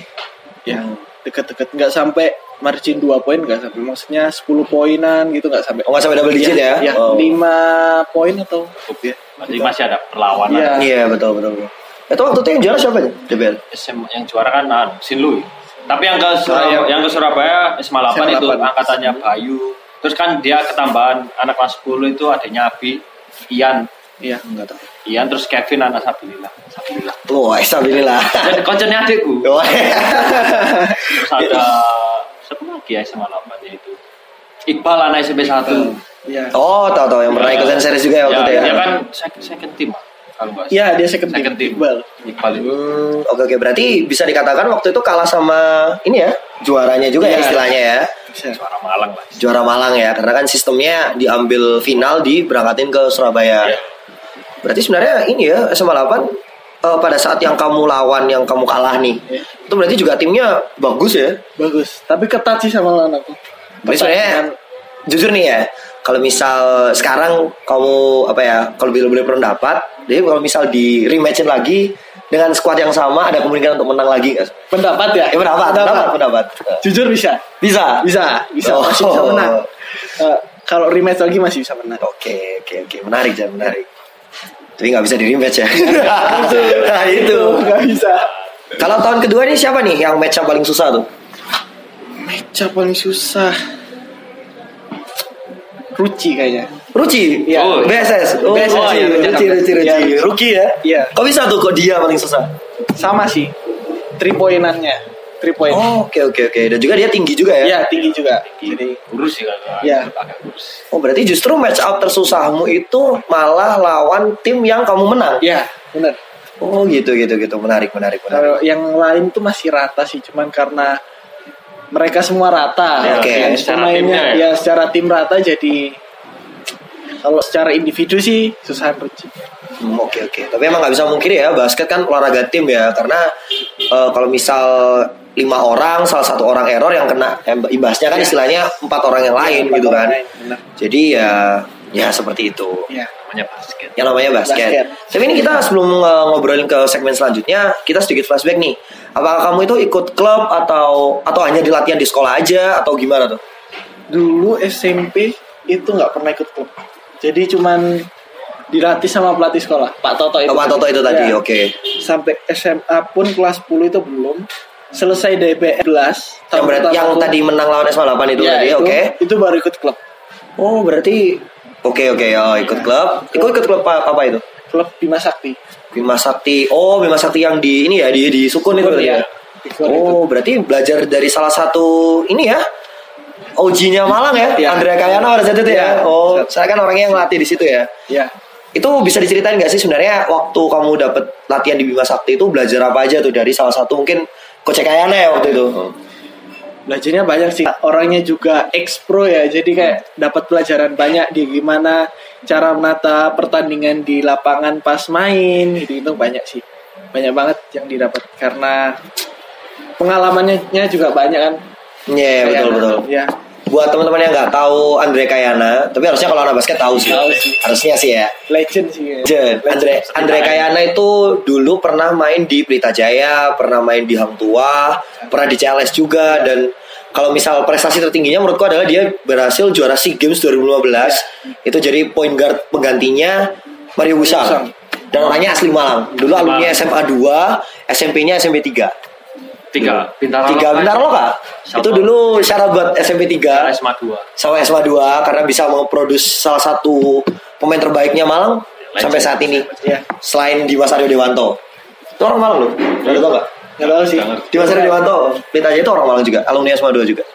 [SPEAKER 3] Ya,
[SPEAKER 2] Hmm.
[SPEAKER 3] deket-deket nggak sampai margin 2 poin nggak sampai maksudnya 10 poinan gitu nggak sampai.
[SPEAKER 2] Oh, nggak sampai double digit ya?
[SPEAKER 3] Ya,
[SPEAKER 2] Oh.
[SPEAKER 3] 5 poin atau ya.
[SPEAKER 1] Jadi masih ada perlawanan.
[SPEAKER 3] Iya.
[SPEAKER 2] Iya betul betul. betul. Itu waktu itu yang juara siapa ya? DBL.
[SPEAKER 1] SM yang juara kan ah, Sinlui. Tapi yang ke
[SPEAKER 3] Surabaya.
[SPEAKER 2] Oh.
[SPEAKER 1] Surabaya, yang ke Surabaya SMA 8
[SPEAKER 3] SMA
[SPEAKER 1] itu
[SPEAKER 3] 8.
[SPEAKER 1] angkatannya Bayu. Terus kan dia ketambahan anak kelas 10 itu adanya Abi, Ian,
[SPEAKER 3] Iya.
[SPEAKER 2] Enggak tahu.
[SPEAKER 1] Ian terus Kevin anak Sabilillah. Sabilillah.
[SPEAKER 2] Wah, Sabilillah.
[SPEAKER 1] Dan koncernya adikku.
[SPEAKER 2] Wah.
[SPEAKER 1] Terus ada siapa lagi ya SMA 8 nya itu? Iqbal anak SMP 1.
[SPEAKER 3] Iya.
[SPEAKER 2] Oh, tahu tahu yang pernah ikutan series juga ya waktu itu ya.
[SPEAKER 1] Dia kan second, second team ah, kalau nggak
[SPEAKER 3] Iya,
[SPEAKER 1] salah.
[SPEAKER 3] dia second team, Iqbal.
[SPEAKER 1] Iqbal itu.
[SPEAKER 2] Hmm, oke oke berarti bisa dikatakan waktu itu kalah sama ini ya juaranya juga ya
[SPEAKER 3] Iya.
[SPEAKER 2] istilahnya ya
[SPEAKER 3] Bisa.
[SPEAKER 1] Juara Malang lah.
[SPEAKER 2] juara Malang ya karena kan sistemnya diambil final diberangkatin ke Surabaya.
[SPEAKER 1] Iya.
[SPEAKER 2] Berarti sebenarnya ini ya SMA 8 eh, pada saat yang kamu lawan yang kamu kalah nih
[SPEAKER 3] Iya.
[SPEAKER 2] itu berarti juga timnya bagus ya.
[SPEAKER 3] Bagus, tapi ketat sih sama lawan aku.
[SPEAKER 2] Tapi sebenarnya jujur nih ya, kalau misal sekarang kamu apa ya, kalau boleh boleh pendapat, jadi kalau misal di rematchin lagi dengan squad yang sama ada kemungkinan untuk menang lagi nggak?
[SPEAKER 3] pendapat ya?
[SPEAKER 2] Eh, pendapat, pendapat, pendapat.
[SPEAKER 3] Jujur bisa.
[SPEAKER 2] Bisa,
[SPEAKER 3] Bisa, bisa
[SPEAKER 2] Oh.
[SPEAKER 3] masih bisa menang. Eh, kalau rematch lagi masih bisa menang.
[SPEAKER 2] Oke, oke, oke, menarik jangan menarik. Tapi nggak bisa di rematch ya. nah, itu.
[SPEAKER 3] nggak bisa.
[SPEAKER 2] Kalau tahun kedua nih siapa nih yang match paling susah tuh?
[SPEAKER 3] Match up paling susah. Ruci kayaknya.
[SPEAKER 2] Ruci,
[SPEAKER 3] Iya.
[SPEAKER 2] Oh, BSS, oh,
[SPEAKER 3] BSS,
[SPEAKER 2] Ruci,
[SPEAKER 3] iya,
[SPEAKER 2] Ruci, Ruci,
[SPEAKER 3] Iya.
[SPEAKER 2] Ruci, Ruki ya.
[SPEAKER 3] Iya.
[SPEAKER 2] Kok bisa tuh kok dia paling susah?
[SPEAKER 3] Sama sih. Three poinannya. Three point.
[SPEAKER 2] Oh, oke oke oke. Dan juga dia tinggi juga ya.
[SPEAKER 3] Iya, tinggi juga. Jadi
[SPEAKER 1] Kurus sih kalau
[SPEAKER 3] Iya.
[SPEAKER 1] agak kurus.
[SPEAKER 2] Oh, berarti justru match up tersusahmu itu malah lawan tim yang kamu menang.
[SPEAKER 3] ya, benar.
[SPEAKER 2] Oh, gitu gitu gitu. Menarik, menarik, menarik.
[SPEAKER 3] Kalau yang lain tuh masih rata sih, cuman karena mereka
[SPEAKER 2] Ya,
[SPEAKER 3] semua rata.
[SPEAKER 2] oke.
[SPEAKER 3] Jadi
[SPEAKER 1] Secara
[SPEAKER 3] pemainnya
[SPEAKER 1] timnya ya.
[SPEAKER 3] ya. secara tim rata jadi kalau secara individu sih susah Ruci.
[SPEAKER 2] Hmm, Oke oke. Tapi emang nggak bisa mungkin ya basket kan olahraga tim ya karena eh, kalau misal lima orang salah satu orang error yang kena em- imbasnya kan istilahnya empat orang yang lain
[SPEAKER 3] Iya. Empat
[SPEAKER 2] gitu
[SPEAKER 3] orang
[SPEAKER 2] kan.
[SPEAKER 3] lain, benar.
[SPEAKER 2] Jadi ya ya seperti itu.
[SPEAKER 3] Iya.
[SPEAKER 1] Namanya basket.
[SPEAKER 2] Yang namanya basket.
[SPEAKER 3] Basket.
[SPEAKER 2] Tapi ini kita sebelum eh, ngobrolin ke segmen selanjutnya, kita sedikit flashback nih. Apakah kamu itu ikut klub atau atau hanya di latihan di sekolah aja atau gimana tuh?
[SPEAKER 3] Dulu SMP itu nggak pernah ikut klub. Jadi cuman dilatih sama pelatih sekolah, Pak Toto itu.
[SPEAKER 2] Pak
[SPEAKER 3] tadi.
[SPEAKER 2] Toto itu tadi,
[SPEAKER 3] Iya.
[SPEAKER 2] oke.
[SPEAKER 3] Sampai SMA pun kelas 10 itu belum. Selesai DPR 11
[SPEAKER 2] Yang, berarti,
[SPEAKER 3] pertama
[SPEAKER 2] yang
[SPEAKER 3] aku-
[SPEAKER 2] tadi menang lawan SMA 8 itu
[SPEAKER 3] Iya,
[SPEAKER 2] tadi,
[SPEAKER 3] itu-
[SPEAKER 2] oke.
[SPEAKER 3] Itu baru ikut klub.
[SPEAKER 2] Oh berarti oke oke oh, ikut klub. Ikut ikut klub apa, apa itu?
[SPEAKER 3] Klub Bima Sakti.
[SPEAKER 2] Bima Sakti. Oh Bima Sakti yang di ini ya di di Sukun itu
[SPEAKER 3] Sukun,
[SPEAKER 2] berarti
[SPEAKER 3] iya.
[SPEAKER 2] ya.
[SPEAKER 3] Ikut,
[SPEAKER 2] Oh berarti belajar dari salah satu ini ya. OG-nya Malang ya,
[SPEAKER 3] Iya.
[SPEAKER 2] Andrea Kayana pada saat itu ya.
[SPEAKER 3] Iya.
[SPEAKER 2] Oh, saya kan orangnya yang latih di situ ya.
[SPEAKER 3] Ya.
[SPEAKER 2] Itu bisa diceritain nggak sih sebenarnya waktu kamu dapet latihan di Bima Sakti itu belajar apa aja tuh dari salah satu mungkin Coach Kayana ya waktu itu.
[SPEAKER 3] Hmm. Belajarnya banyak sih. Orangnya juga ex pro ya. Jadi kayak dapat pelajaran banyak di gimana cara menata pertandingan di lapangan pas main gitu-gitu banyak sih. Banyak banget yang didapat karena pengalamannya juga banyak kan.
[SPEAKER 2] Iya betul betul.
[SPEAKER 3] Ya.
[SPEAKER 2] Buat teman-teman yang nggak tahu Andre Kayana, tapi harusnya kalau anak basket tahu sih.
[SPEAKER 3] Tahu sih.
[SPEAKER 2] Harusnya sih ya.
[SPEAKER 3] Legend sih. ya.
[SPEAKER 2] Jen, Andre, Andre Kayana itu dulu pernah main di Pelita Jaya, pernah main di Hang Tua, pernah di CLS juga dan kalau misal prestasi tertingginya menurutku adalah dia berhasil juara SEA Games 2015. Itu jadi point guard penggantinya Mario
[SPEAKER 3] Busang.
[SPEAKER 2] Busang. Dan orangnya asli Malang. Dulu alumni SMA 2, SMP-nya SMP 3.
[SPEAKER 1] Tiga. Bintara.
[SPEAKER 2] Tiga bentar loh Kak.
[SPEAKER 1] Sama.
[SPEAKER 2] Itu dulu syarat buat SMP 3
[SPEAKER 1] SMA 2.
[SPEAKER 2] sama SMA 2 karena bisa memproduksi salah satu pemain terbaiknya Malang
[SPEAKER 1] Legend.
[SPEAKER 2] sampai saat ini.
[SPEAKER 3] Iya.
[SPEAKER 2] Selain Dimas Aryo Dewanto. Itu orang Malang loh. Udah tau gak?
[SPEAKER 3] Nggak tahu sih.
[SPEAKER 1] Nggak ngerti.
[SPEAKER 2] Dimas Aryo Dewanto, Pelita Jaya itu orang Malang juga, alumni SMA 2 juga.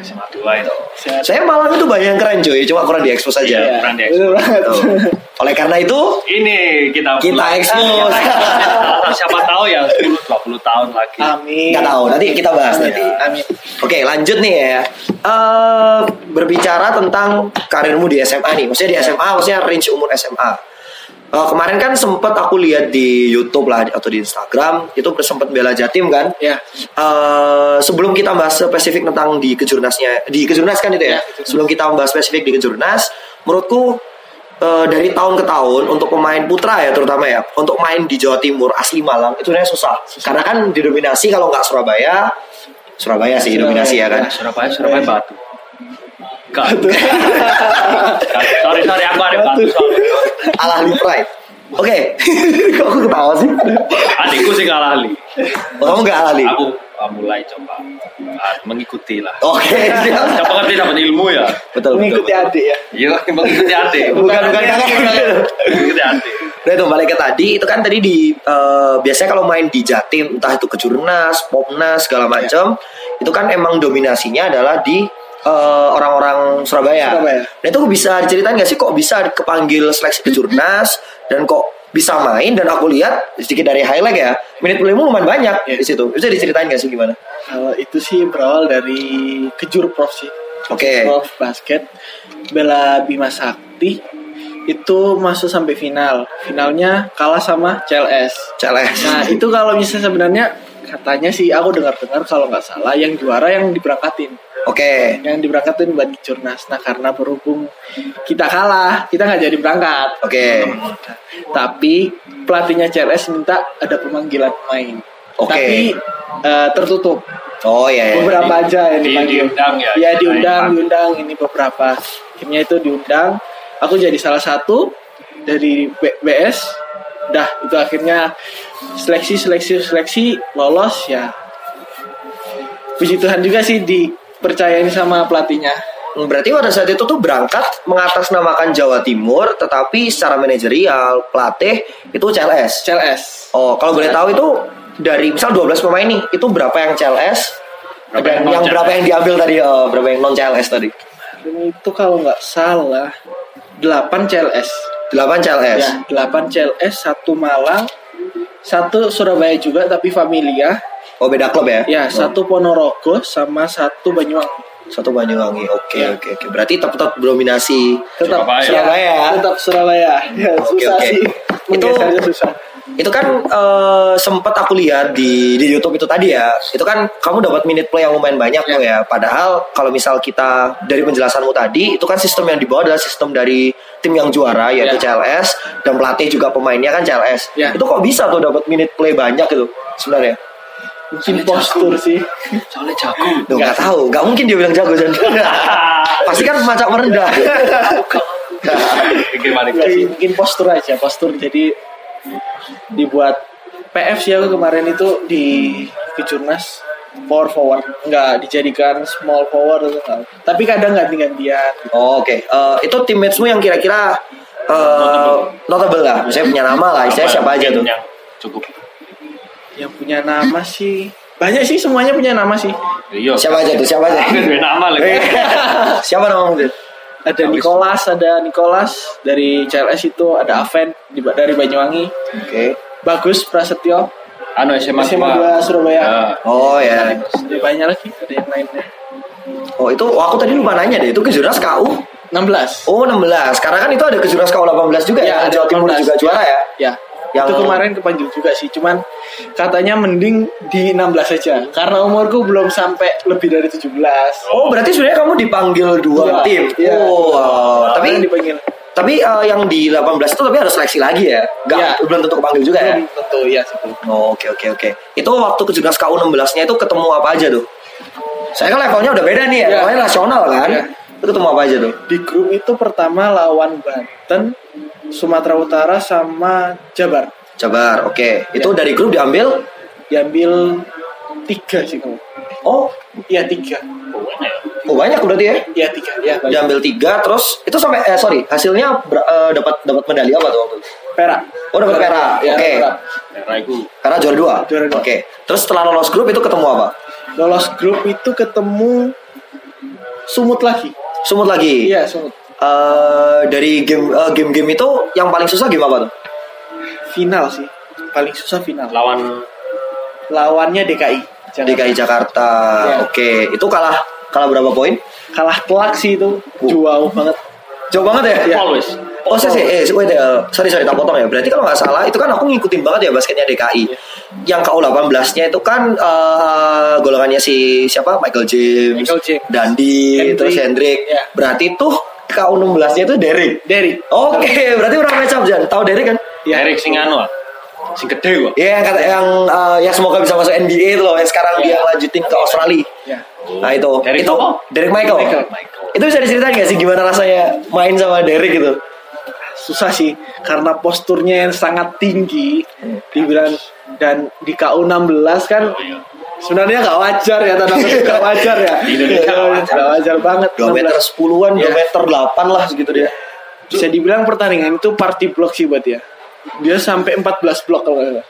[SPEAKER 1] SMA 2. dua itu.
[SPEAKER 3] Sehat.
[SPEAKER 2] Saya malam itu banyak yang keren cuy, cuma kurang diekspos aja.
[SPEAKER 1] Iya. kurang di-expose.
[SPEAKER 3] betul banget.
[SPEAKER 2] Gitu. Oleh karena itu
[SPEAKER 1] Ini kita
[SPEAKER 2] kita ya.
[SPEAKER 1] pulang.
[SPEAKER 2] ekspos.
[SPEAKER 1] siapa tahu ya 10 20 tahun lagi.
[SPEAKER 3] Amin.
[SPEAKER 2] Nggak tahu, nanti kita bahas
[SPEAKER 1] Iya.
[SPEAKER 2] nanti.
[SPEAKER 3] Amin.
[SPEAKER 2] Oke, lanjut nih ya. Eh berbicara tentang karirmu di SMA nih. Maksudnya di SMA, maksudnya range umur SMA. Eh, kemarin kan sempet aku lihat di YouTube lah atau di Instagram itu sempet bela Jatim kan.
[SPEAKER 3] Ya.
[SPEAKER 2] Eh, sebelum kita bahas spesifik tentang di kejurnasnya, di kejurnas kan itu ya.
[SPEAKER 3] Ya, kejurnas.
[SPEAKER 2] sebelum kita bahas spesifik di kejurnas, menurutku eh, dari tahun ke tahun untuk pemain putra ya terutama ya, untuk main di Jawa Timur asli Malang itu sebenarnya susah. Karena kan didominasi kalau nggak Surabaya, Surabaya sih didominasi ya kan.
[SPEAKER 1] Surabaya, Surabaya batu. Gak. sorry, sorry, aku ada batu. sorry.
[SPEAKER 2] Alah Lee Pride. Oke, kok aku ketawa sih?
[SPEAKER 1] Adikku sih kalah li.
[SPEAKER 2] Oh, kamu nggak alah Lee?
[SPEAKER 1] Aku uh, mulai coba uh, mengikuti lah.
[SPEAKER 2] Oke, siap.
[SPEAKER 1] Siapa ngerti dapat ilmu ya?
[SPEAKER 2] betul. betul,
[SPEAKER 3] Mengikuti
[SPEAKER 2] betul.
[SPEAKER 3] adik ya.
[SPEAKER 1] Iya, mengikuti adik.
[SPEAKER 2] Bukan bukan kakak.
[SPEAKER 1] Mengikuti adik.
[SPEAKER 2] Udah itu balik ke tadi itu kan tadi di eh, biasanya kalau main di Jatim entah itu kejurnas, popnas segala
[SPEAKER 3] Iya.
[SPEAKER 2] macam itu kan emang dominasinya adalah di eh, orang-orang Surabaya.
[SPEAKER 3] Surabaya.
[SPEAKER 2] Nah itu bisa diceritain gak sih kok bisa kepanggil seleksi kejurnas dan kok bisa main dan aku lihat sedikit dari highlight ya menit playmu lumayan banyak
[SPEAKER 3] Iya.
[SPEAKER 2] di situ bisa diceritain gak sih gimana?
[SPEAKER 3] Kalau itu sih berawal dari kejur prof sih.
[SPEAKER 2] Oke.
[SPEAKER 3] Prof basket bela Bima Sakti itu masuk sampai final. Finalnya kalah sama CLS.
[SPEAKER 2] Celes.
[SPEAKER 3] Nah itu kalau misalnya sebenarnya katanya sih aku dengar-dengar kalau nggak salah yang juara yang diberangkatin,
[SPEAKER 2] Oke.
[SPEAKER 3] yang diberangkatin buat kejurnas. Nah karena berhubung kita kalah, kita nggak jadi berangkat.
[SPEAKER 2] Oke.
[SPEAKER 3] Tapi pelatihnya CLS minta ada pemanggilan pemain.
[SPEAKER 2] Oke.
[SPEAKER 3] Tapi eh, tertutup
[SPEAKER 2] Oh iya. iya.
[SPEAKER 3] beberapa
[SPEAKER 1] Eh, Di-
[SPEAKER 3] aja yang
[SPEAKER 1] di-
[SPEAKER 3] dipanggil.
[SPEAKER 1] diundang ya?
[SPEAKER 3] Iya,
[SPEAKER 1] Diundang.
[SPEAKER 3] diundang, diundang ini beberapa. Akhirnya itu diundang. Aku jadi salah satu dari B- BS. Dah, itu akhirnya seleksi seleksi seleksi lolos ya. Puji Tuhan juga sih dipercayain sama pelatihnya.
[SPEAKER 2] Berarti pada saat itu tuh berangkat mengatasnamakan Jawa Timur, tetapi secara manajerial, pelatih itu CLS.
[SPEAKER 3] CLS.
[SPEAKER 2] Oh, kalau boleh tahu itu dari misal 12 pemain nih, itu berapa yang CLS?
[SPEAKER 1] Berapa
[SPEAKER 2] dan
[SPEAKER 1] yang non
[SPEAKER 2] yang berapa yang diambil tadi? Oh, berapa yang non CLS tadi?
[SPEAKER 3] Dan itu kalau nggak salah 8 CLS.
[SPEAKER 2] 8 CLS.
[SPEAKER 3] Ya, 8 CLS, satu Malang, satu Surabaya juga tapi familia,
[SPEAKER 2] Oh, beda klub ya? Oh,
[SPEAKER 3] Ya, satu Ponorogo sama satu Banyuwangi.
[SPEAKER 2] satu Banyuwangi. Oke,
[SPEAKER 3] Ya.
[SPEAKER 2] oke, oke. Berarti tetap tetap dominasi.
[SPEAKER 3] Tetap
[SPEAKER 1] Surabaya.
[SPEAKER 2] Surabaya.
[SPEAKER 3] Tetap Surabaya. Ya,
[SPEAKER 2] Oke,
[SPEAKER 3] susah
[SPEAKER 2] oke.
[SPEAKER 3] sih.
[SPEAKER 2] Itu-
[SPEAKER 3] Menggesernya susah.
[SPEAKER 2] Itu kan eh, sempat aku lihat di di YouTube itu tadi ya. Itu kan kamu dapat minute play yang lumayan banyak tuh ya. Padahal kalau misal kita dari penjelasanmu tadi, itu kan sistem yang dibawa adalah sistem dari tim yang juara yaitu
[SPEAKER 3] Ya.
[SPEAKER 2] CLS dan pelatih juga pemainnya kan CLS.
[SPEAKER 3] Ya.
[SPEAKER 2] Itu kok bisa tuh dapat minute play banyak gitu sebenarnya?
[SPEAKER 3] Mungkin postur sih.
[SPEAKER 1] Soalnya jago.
[SPEAKER 2] Duh,
[SPEAKER 3] Ya.
[SPEAKER 2] nggak tahu, nggak mungkin dia bilang jago Jan. Pasti kan macam merendah.
[SPEAKER 1] Gimana?
[SPEAKER 3] Enggak sih, mungkin postur aja, postur. Jadi dibuat PF sih aku kemarin itu di Kejurnas power forward nggak dijadikan small forward atau nggak. tapi kadang ganti gantian
[SPEAKER 2] Oh, Oke, Eh, itu teammatesmu yang kira-kira eh, notable lah, misalnya punya nama lah, istilahnya siapa aja tuh?
[SPEAKER 1] Yang cukup.
[SPEAKER 3] yang punya nama sih banyak sih semuanya punya nama sih
[SPEAKER 1] Iya. Kan
[SPEAKER 2] Siapa Eh. aja tuh? Siapa aja?
[SPEAKER 1] Aku dua nama lagi.
[SPEAKER 2] siapa namamu tuh?
[SPEAKER 3] ada Nicholas ada Nicholas dari CLS itu ada Aven di- dari Banyuwangi
[SPEAKER 2] Oke.
[SPEAKER 3] bagus Prasetyo
[SPEAKER 1] Anu SMA
[SPEAKER 3] SMA
[SPEAKER 1] dua.
[SPEAKER 3] 2 Surabaya
[SPEAKER 1] Eh,
[SPEAKER 2] Oh ya.
[SPEAKER 3] Ada banyak lagi ada yang lainnya
[SPEAKER 2] Oh itu oh, aku tadi lupa nanya deh, itu kejurnas KU.
[SPEAKER 3] 16
[SPEAKER 2] Oh 16. Karena kan itu ada kejurnas KU 18 juga ya.
[SPEAKER 3] Iya, ada
[SPEAKER 2] Jawa Timur
[SPEAKER 3] 18.
[SPEAKER 2] juga juara ya.
[SPEAKER 3] ya
[SPEAKER 2] Yang-
[SPEAKER 3] itu kemarin kepanjul juga sih cuman katanya mending di 16 aja karena umurku belum sampai lebih dari 17
[SPEAKER 2] Oh berarti sebenarnya kamu dipanggil dua
[SPEAKER 3] Dua,
[SPEAKER 2] tim.
[SPEAKER 3] iya.
[SPEAKER 2] Oh, wow. tapi
[SPEAKER 3] Karena dipanggil
[SPEAKER 2] tapi eh, yang di 18 itu tapi harus seleksi lagi ya. Gak,
[SPEAKER 3] Iya.
[SPEAKER 2] belum tentu kepanggil juga ya.
[SPEAKER 3] belum tentu ya sih belum.
[SPEAKER 2] Oh, Oke oke oke. Itu waktu kejurnas KU 16-nya itu ketemu apa aja tuh? Saya kan levelnya udah beda nih ya,
[SPEAKER 3] Iya.
[SPEAKER 2] levelnya nasional kan.
[SPEAKER 3] Iya.
[SPEAKER 2] Itu ketemu apa aja tuh?
[SPEAKER 3] di grup itu pertama lawan Banten Sumatera Utara sama Jabar
[SPEAKER 2] Jabar, oke. Itu
[SPEAKER 3] Iya.
[SPEAKER 2] dari grup diambil.
[SPEAKER 3] diambil tiga sih kamu
[SPEAKER 2] Oh,
[SPEAKER 3] Iya tiga,
[SPEAKER 1] Ya,
[SPEAKER 2] oh banyak berarti ya.
[SPEAKER 3] iya tiga, ya banyak.
[SPEAKER 2] Diambil tiga, terus itu sampai eh sorry, hasilnya ber- eh, dapat dapat medali apa tuh? waktu itu?
[SPEAKER 3] perak.
[SPEAKER 2] Oh, dapat perak.
[SPEAKER 3] Ya,
[SPEAKER 2] Oke.
[SPEAKER 3] perak.
[SPEAKER 1] Daerah itu.
[SPEAKER 2] Karena juara dua.
[SPEAKER 3] Juara
[SPEAKER 2] Oke.
[SPEAKER 3] dua.
[SPEAKER 2] Terus setelah lolos grup itu ketemu apa?
[SPEAKER 3] Lolos grup itu ketemu Sumut lagi.
[SPEAKER 2] Sumut lagi.
[SPEAKER 3] Iya, Sumut.
[SPEAKER 2] Eh, dari game eh, game-game itu yang paling susah game apa tuh?
[SPEAKER 3] Final sih. Paling susah final.
[SPEAKER 1] lawan
[SPEAKER 3] Lawannya DKI. Jangan
[SPEAKER 2] DKI Jakarta.
[SPEAKER 3] Iya.
[SPEAKER 2] Oke, itu kalah kalah berapa poin?
[SPEAKER 3] kalah telak sih itu.
[SPEAKER 2] Oh.
[SPEAKER 3] Jauh banget.
[SPEAKER 2] Jauh banget ya?
[SPEAKER 3] Iya.
[SPEAKER 1] Paul wis.
[SPEAKER 2] Oh, saya sih, eh, wait, eh, sorry, sorry, tak potong ya. Berarti kalau nggak salah, itu kan aku ngikutin banget ya basketnya
[SPEAKER 3] Iya.
[SPEAKER 2] DKI. Yang KU18-nya itu kan eh, golongannya si siapa? Michael James,
[SPEAKER 3] Michael James.
[SPEAKER 2] Dandi,
[SPEAKER 3] Hendrick.
[SPEAKER 2] terus Hendrik.
[SPEAKER 3] Iya.
[SPEAKER 2] Berarti tuh KU16-nya itu Derek.
[SPEAKER 3] Derry.
[SPEAKER 2] Oke, berarti pernah match up, Jan. Tahu Derek kan?
[SPEAKER 3] Iya.
[SPEAKER 1] Eric sing anu ah. sing gede kok.
[SPEAKER 2] Iya, yang kata yang eh, yang semoga bisa masuk NBA itu loh. Yang sekarang dia lanjutin ke Australia.
[SPEAKER 3] Iya.
[SPEAKER 2] Nah itu,
[SPEAKER 1] Derek
[SPEAKER 2] itu
[SPEAKER 1] apa?
[SPEAKER 2] Derek Michael.
[SPEAKER 3] Michael.
[SPEAKER 2] Itu bisa diceritain gak sih gimana rasanya main sama Derek gitu?
[SPEAKER 3] susah sih karena posturnya yang sangat tinggi dibilang dan di KU 16 kan sebenarnya nggak wajar ya tanda kutip nggak wajar ya
[SPEAKER 1] Di Indonesia nggak wajar.
[SPEAKER 3] nggak wajar banget
[SPEAKER 2] 2 meter
[SPEAKER 3] 16.
[SPEAKER 2] 10-an, 2
[SPEAKER 3] Iya.
[SPEAKER 2] meter 8 lah gitu dia.
[SPEAKER 3] bisa dibilang pertandingan itu party block sih buat dia dia sampai 14 blok kalau nggak salah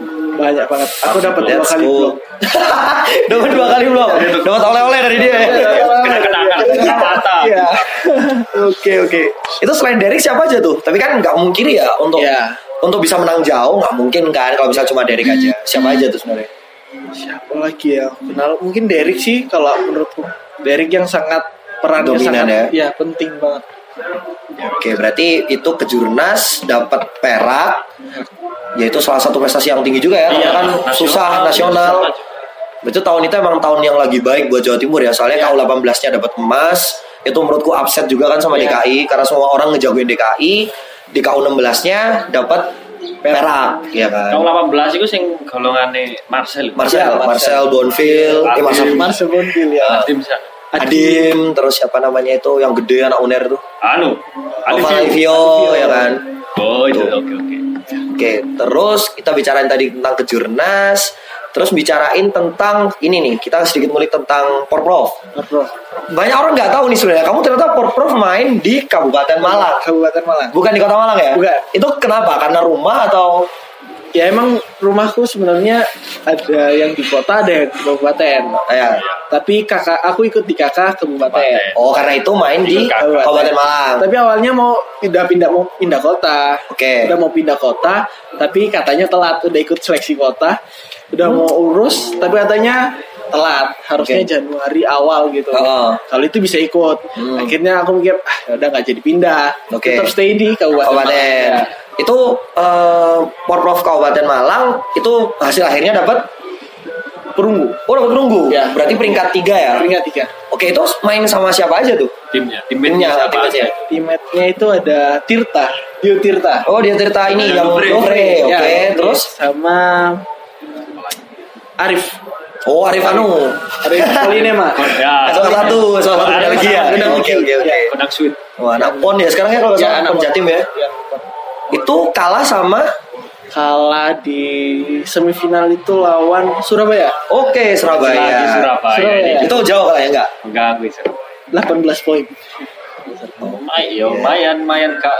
[SPEAKER 2] Uh,
[SPEAKER 3] banyak banget aku dapat dua
[SPEAKER 2] let's
[SPEAKER 3] kali
[SPEAKER 2] go.
[SPEAKER 3] blok Iya,
[SPEAKER 2] Dapat ya. dua kali blok. Dapat oleh-oleh dari dia. ya.
[SPEAKER 1] Kena kenangan kena mata.
[SPEAKER 3] Iya.
[SPEAKER 2] Oke oke. Itu selain Derek siapa aja tuh? Tapi kan nggak mungkin ya untuk
[SPEAKER 3] Iya.
[SPEAKER 2] untuk bisa menang jauh nggak mungkin kan kalau misalnya cuma Derek aja. Siapa aja tuh sebenarnya?
[SPEAKER 3] siapa lagi ya kenal mungkin Derek sih kalau menurutku Derek yang sangat perannya
[SPEAKER 2] Dominan
[SPEAKER 3] sangat ya penting banget
[SPEAKER 2] Oke, berarti itu kejurnas dapat perak, yaitu salah satu prestasi yang tinggi juga ya, karena
[SPEAKER 1] Iya,
[SPEAKER 2] kan
[SPEAKER 1] nasional,
[SPEAKER 2] susah
[SPEAKER 1] iya,
[SPEAKER 2] nasional.
[SPEAKER 1] susah.
[SPEAKER 2] Itu tahun itu emang tahun yang lagi baik buat Jawa Timur ya,
[SPEAKER 1] Iya.
[SPEAKER 2] soalnya KU 18-nya dapat emas, itu menurutku upset juga kan sama
[SPEAKER 3] Iya.
[SPEAKER 2] DKI, karena semua orang ngejagoin DKI, di KU 16-nya dapat perak, ya kan.
[SPEAKER 1] Tahun 18 itu sing golongane Marcel. Ah,
[SPEAKER 2] Marcel,
[SPEAKER 3] Iya, Marcel.
[SPEAKER 2] Marcel Bonfil, eh,
[SPEAKER 1] Adim.
[SPEAKER 2] Marcel-
[SPEAKER 3] Mas Bonfil ya
[SPEAKER 1] Adim Sa-
[SPEAKER 2] Adim, terus siapa namanya itu yang gede anak uner tuh,
[SPEAKER 1] Anu. Adim iya. Sa-
[SPEAKER 2] Valivio, ya kan.
[SPEAKER 1] Oh, itu oke oke.
[SPEAKER 2] Oke, terus kita bicarain tadi tentang kejurnas, terus bicarain tentang ini nih, kita sedikit ngulik tentang Porprov.
[SPEAKER 3] Bro,
[SPEAKER 2] Banyak orang nggak tahu nih sebenarnya, kamu ternyata Porprov main di Kabupaten Malang,
[SPEAKER 3] Kabupaten Malang.
[SPEAKER 2] bukan di Kota Malang ya?
[SPEAKER 3] Bukan.
[SPEAKER 2] Itu kenapa? Karena rumah atau
[SPEAKER 3] Ya emang rumahku sebenarnya ada yang di kota, ada yang di kabupaten.
[SPEAKER 2] ya?
[SPEAKER 3] Tapi kakak aku ikut di kakak kabupaten.
[SPEAKER 1] Kabupaten.
[SPEAKER 2] Oh, karena itu main
[SPEAKER 1] Di
[SPEAKER 2] di Kabupaten, Malang.
[SPEAKER 3] Tapi awalnya mau pindah-pindah mau pindah kota.
[SPEAKER 2] Oke.
[SPEAKER 3] Udah mau pindah kota, tapi katanya telat. Udah ikut seleksi kota, udah mau urus, tapi katanya telat.
[SPEAKER 2] Oke.
[SPEAKER 3] Harusnya Januari awal gitu.
[SPEAKER 2] Oh. Hmm.
[SPEAKER 3] Kalau itu bisa ikut. Akhirnya aku mikir, ah udah nggak jadi pindah.
[SPEAKER 2] Oke.
[SPEAKER 3] Tetap stay di kabupaten.
[SPEAKER 2] Kabupaten.
[SPEAKER 3] Malang. ya.
[SPEAKER 2] Itu eh, Porprov Kabupaten Malang itu hasil akhirnya dapat
[SPEAKER 3] Perunggu.
[SPEAKER 2] Oh, dapat perunggu.
[SPEAKER 3] Ya.
[SPEAKER 2] Berarti peringkat tiga ya.
[SPEAKER 3] Peringkat tiga.
[SPEAKER 2] Oke, itu main sama siapa aja tuh?
[SPEAKER 1] Timnya,
[SPEAKER 2] Timnya,
[SPEAKER 1] timnya siapa?
[SPEAKER 2] timnya
[SPEAKER 1] aja?
[SPEAKER 2] siapa?
[SPEAKER 3] Teammate-nya itu ada Tirta, Dio Tirta.
[SPEAKER 2] Oh dia cerita ini yang
[SPEAKER 1] Lovre.
[SPEAKER 2] Lovre, oke
[SPEAKER 3] Ya,
[SPEAKER 2] terus
[SPEAKER 3] sama Arif.
[SPEAKER 2] oh Arif Anu
[SPEAKER 3] Arif Polinema.
[SPEAKER 1] Ya.
[SPEAKER 2] Eh, salah satu salah satu
[SPEAKER 1] Arif
[SPEAKER 2] energi ya
[SPEAKER 1] sama
[SPEAKER 3] energi.
[SPEAKER 2] oke oke oke
[SPEAKER 3] Ya.
[SPEAKER 1] Kodak Sweet.
[SPEAKER 2] wah anak pon ya sekarang ya kalau nggak
[SPEAKER 3] Ya,
[SPEAKER 2] salah
[SPEAKER 3] anak
[SPEAKER 2] anak
[SPEAKER 3] pon.
[SPEAKER 2] jatim ya
[SPEAKER 3] Ya.
[SPEAKER 2] itu kalah sama
[SPEAKER 3] Kalah di semifinal itu lawan Surabaya.
[SPEAKER 2] oke
[SPEAKER 1] Lagi
[SPEAKER 2] Surabaya
[SPEAKER 1] Surabaya.
[SPEAKER 3] Surabaya.
[SPEAKER 1] ini.
[SPEAKER 2] itu jauh kalah ya enggak
[SPEAKER 1] Enggak aku di Surabaya.
[SPEAKER 3] 18 poin.
[SPEAKER 1] Mai, yo, mayan, mayan kak.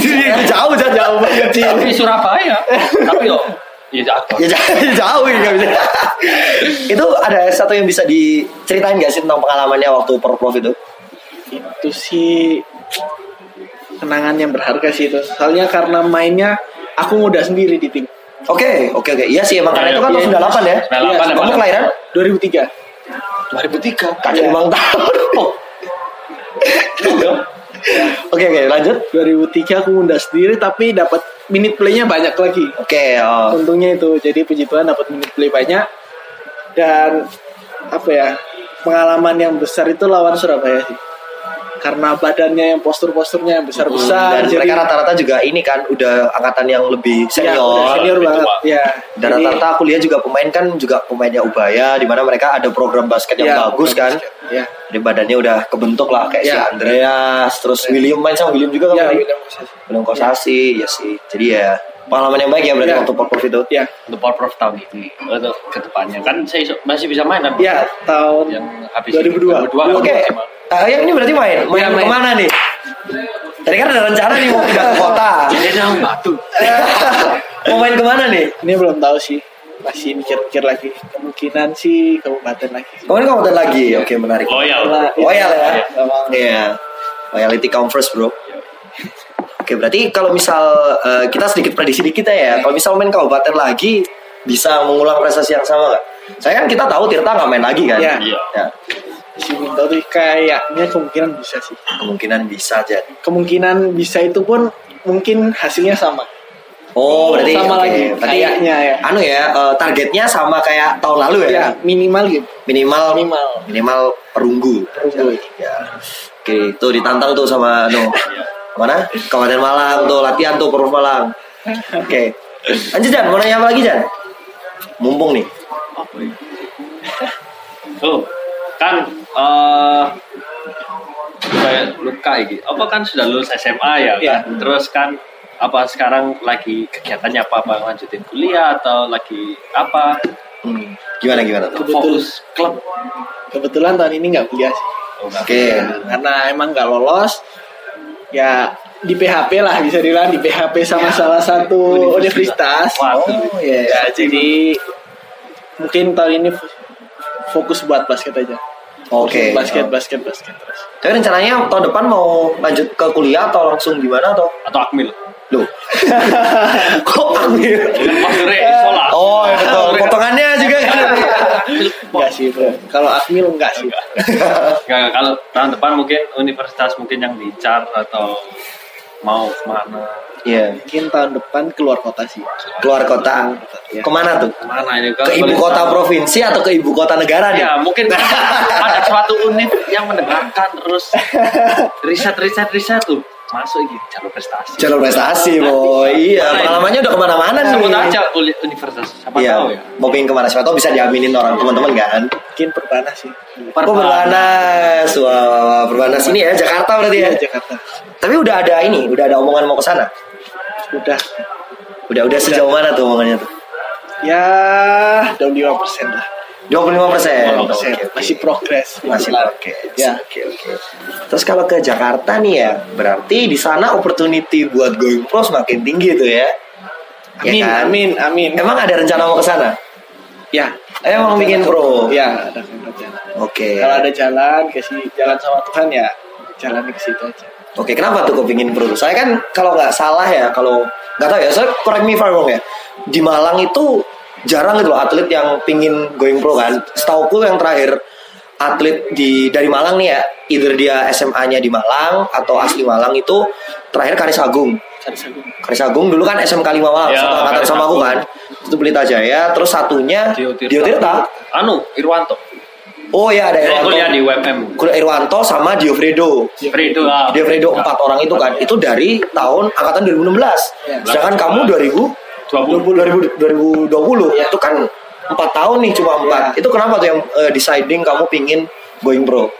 [SPEAKER 3] Iya.
[SPEAKER 2] Ya, jauh jauh jauh banget sih
[SPEAKER 1] Tapi Surabaya. Tapi yo, ya aku.
[SPEAKER 2] ya jauh jauh ya nggak bisa itu ada satu yang bisa diceritain nggak sih tentang pengalamannya waktu perprov itu
[SPEAKER 3] Itu sih kenangan yang berharga sih itu. Soalnya karena mainnya aku muda sendiri di tim.
[SPEAKER 2] Oke, oke, oke. Iya sih, emang karena
[SPEAKER 1] Ya,
[SPEAKER 2] itu kan
[SPEAKER 1] ya.
[SPEAKER 2] tahun 98 ya.
[SPEAKER 1] 98,
[SPEAKER 2] Kamu
[SPEAKER 1] emang.
[SPEAKER 2] kelahiran?
[SPEAKER 1] 2003.
[SPEAKER 3] 2003.
[SPEAKER 2] Kacau
[SPEAKER 3] Iya.
[SPEAKER 2] bang tahun. Oh, Oke, oke, lanjut.
[SPEAKER 3] 2003 aku muda sendiri tapi dapat minute playnya banyak lagi.
[SPEAKER 2] Oke, oh.
[SPEAKER 3] untungnya itu jadi puji Tuhan dapat minute play banyak dan apa ya pengalaman yang besar itu lawan Surabaya sih karena badannya yang postur-posturnya yang besar-besar
[SPEAKER 2] Hmm, dan
[SPEAKER 3] jadi-
[SPEAKER 2] mereka rata-rata juga ini kan udah angkatan yang lebih
[SPEAKER 3] Ya, udah
[SPEAKER 2] senior.
[SPEAKER 3] senior
[SPEAKER 1] lebih
[SPEAKER 3] banget
[SPEAKER 1] tua.
[SPEAKER 3] ya
[SPEAKER 2] dan
[SPEAKER 3] Jadi,
[SPEAKER 2] rata-rata aku lihat juga pemain kan juga pemainnya Ubaya di mana mereka ada program basket Iya. yang
[SPEAKER 3] ya,
[SPEAKER 2] bagus kan.
[SPEAKER 3] ya
[SPEAKER 2] Jadi badannya udah kebentuk lah kayak si
[SPEAKER 3] Ya.
[SPEAKER 2] Andreas, terus William main sama William juga kan.
[SPEAKER 3] ya
[SPEAKER 2] tadi?
[SPEAKER 3] William Moses.
[SPEAKER 2] Belum kosasi, ya sih. Jadi ya pengalaman yang baik ya berarti
[SPEAKER 3] Ya.
[SPEAKER 2] waktu Porprov itu.
[SPEAKER 3] ya
[SPEAKER 1] Untuk Power Prof tahun ini, untuk kedepannya kan saya iso- masih bisa main kan?
[SPEAKER 3] ya tahun
[SPEAKER 1] Yang habis
[SPEAKER 3] 2002
[SPEAKER 1] 2002.
[SPEAKER 2] Oke, eh, yang ini berarti main. Main,
[SPEAKER 3] Ya, main.
[SPEAKER 2] kemana nih? Tadi kan ada rencana nih mau pindah ke kota.
[SPEAKER 1] Jadi yang batu.
[SPEAKER 2] mau main kemana nih?
[SPEAKER 3] ini belum tahu sih masih mikir-mikir lagi kemungkinan sih kabupaten lagi
[SPEAKER 2] Kemarin kamu nonton lagi, oke menarik.
[SPEAKER 1] Loyal.
[SPEAKER 2] Loyal ya.
[SPEAKER 3] Emang.
[SPEAKER 2] Iya. Loyalty comes first, bro. Oke, berarti kalau misal eh, kita sedikit prediksi dikit ya, kalau misal main kabupaten lagi bisa mengulang prestasi yang sama nggak? Saya kan kita tahu Tirta nggak main lagi kan?
[SPEAKER 3] Iya.
[SPEAKER 1] Iya.
[SPEAKER 2] Ya,
[SPEAKER 3] si Winto tuh kayaknya kemungkinan bisa sih
[SPEAKER 2] Kemungkinan bisa jadi.
[SPEAKER 3] kemungkinan bisa itu pun mungkin hasilnya sama
[SPEAKER 2] Oh, berarti
[SPEAKER 3] Sama
[SPEAKER 2] oke.
[SPEAKER 3] lagi,
[SPEAKER 2] Berarti
[SPEAKER 3] kayaknya ya.
[SPEAKER 2] Anu ya, eh, targetnya sama kayak tahun lalu ya.
[SPEAKER 3] ya minimal gitu
[SPEAKER 2] Minimal
[SPEAKER 3] Minimal.
[SPEAKER 2] minimal perunggu.
[SPEAKER 3] Perunggu.
[SPEAKER 2] Ya. Oke, tuh ditantang tuh sama anu. Mana? Kabupaten Malang tuh latihan tuh Perus Malang. Oke. Lanjut Jan, mau nanya apa lagi Jan? Mumpung nih.
[SPEAKER 1] Oh, kan eh kayak luka iki. Apa kan sudah lulus SMA ya
[SPEAKER 3] Iya.
[SPEAKER 1] kan? Terus kan apa sekarang lagi kegiatannya apa apa lanjutin kuliah atau lagi apa
[SPEAKER 2] Hmm. Gimana gimana tuh?
[SPEAKER 3] Kebetul-
[SPEAKER 1] fokus klub
[SPEAKER 3] kebetulan tahun ini nggak kuliah sih
[SPEAKER 1] Oh, nggak.
[SPEAKER 2] Oke.
[SPEAKER 3] karena emang nggak lolos ya di PHP lah bisa dibilang di PHP sama salah satu universitas
[SPEAKER 1] Waduh.
[SPEAKER 2] Oh iya.
[SPEAKER 3] ya jadi mungkin tahun ini f- fokus buat basket aja
[SPEAKER 2] Oke.
[SPEAKER 3] Fokus basket basket basket terus
[SPEAKER 2] Tapi rencananya tahun depan mau lanjut ke kuliah atau langsung gimana atau?
[SPEAKER 1] atau akmil
[SPEAKER 2] Loh. Kok ambil?
[SPEAKER 1] maksudnya sholat
[SPEAKER 2] Oh, ya betul. Potongannya juga kan.
[SPEAKER 3] enggak sih bro kalau Akmil enggak sih
[SPEAKER 1] Nggak, nggak. kalau tahun depan mungkin universitas mungkin yang diincar atau mau kemana
[SPEAKER 2] Iya.
[SPEAKER 3] mungkin tahun depan keluar kota sih
[SPEAKER 2] Keluar kota.
[SPEAKER 3] Iya.
[SPEAKER 2] Kemana tuh?
[SPEAKER 1] kemana ini
[SPEAKER 2] Ke ibu kota provinsi atau ke ibu kota negara nih?
[SPEAKER 1] ya mungkin ada suatu unit yang mendengarkan terus riset riset riset tuh masuk gitu jalur prestasi
[SPEAKER 2] Jalur prestasi, boy. Iya, pengalamannya udah kemana-mana nih.
[SPEAKER 1] sebut aja uli- universitas siapa
[SPEAKER 2] Iya,
[SPEAKER 1] tahu ya
[SPEAKER 2] mau pengen kemana siapa tahu bisa diaminin orang teman-teman kan.
[SPEAKER 3] mungkin perbanas sih
[SPEAKER 2] Oh, Perbanas, wah, Perbanas ini ya Jakarta berarti ya.
[SPEAKER 3] Iya, Jakarta
[SPEAKER 2] Tapi udah ada ini, udah ada omongan mau ke sana.
[SPEAKER 3] udah
[SPEAKER 2] Udah, udah sejauh mana tuh omongannya tuh?
[SPEAKER 3] ya udah 5 persen lah
[SPEAKER 2] 25 persen.
[SPEAKER 3] 5%. masih progres
[SPEAKER 2] masih
[SPEAKER 3] Kebetulan.
[SPEAKER 2] oke
[SPEAKER 3] ya
[SPEAKER 2] oke oke terus kalau ke Jakarta nih ya berarti di sana opportunity buat going pro semakin tinggi tuh ya Ya
[SPEAKER 3] amin
[SPEAKER 2] kan?
[SPEAKER 3] amin amin
[SPEAKER 2] emang ada rencana mau ke sana
[SPEAKER 3] ya
[SPEAKER 2] Eh, emang bikin pro oke
[SPEAKER 3] ya ada rencana kalau ada jalan kasih jalan sama Tuhan ya jalani ke situ aja
[SPEAKER 2] oke kenapa tuh kok pingin pro saya kan kalau nggak salah ya kalau nggak tahu ya saya correct me if I'm wrong ya di Malang itu jarang gitu loh atlet yang pingin going pro kan setauku yang terakhir atlet di dari Malang nih ya either dia SMA-nya di Malang atau asli Malang itu terakhir Karis Agung
[SPEAKER 3] cari sagung
[SPEAKER 2] Karis Agung dulu kan SMK 5 Malang
[SPEAKER 1] Ya,
[SPEAKER 2] satu angkatan
[SPEAKER 1] Karis
[SPEAKER 2] sama aku
[SPEAKER 1] Agung.
[SPEAKER 2] kan itu Pelita Jaya terus satunya
[SPEAKER 1] Dio Tirta.
[SPEAKER 2] Dio Tirta
[SPEAKER 1] anu Irwanto
[SPEAKER 2] oh iya ada
[SPEAKER 1] saya
[SPEAKER 2] Irwanto
[SPEAKER 1] kuliah di UMM
[SPEAKER 2] Kuliah Irwanto sama Diofredo
[SPEAKER 1] Fredo ah.
[SPEAKER 2] Diofredo empat orang itu kan itu dari tahun angkatan 2016
[SPEAKER 3] Ya.
[SPEAKER 2] sedangkan kamu 2000
[SPEAKER 1] 20
[SPEAKER 2] 2020, 2020
[SPEAKER 3] Ya.
[SPEAKER 2] itu kan empat tahun nih cuma empat
[SPEAKER 3] Ya.
[SPEAKER 2] itu kenapa tuh yang eh, deciding kamu pingin going pro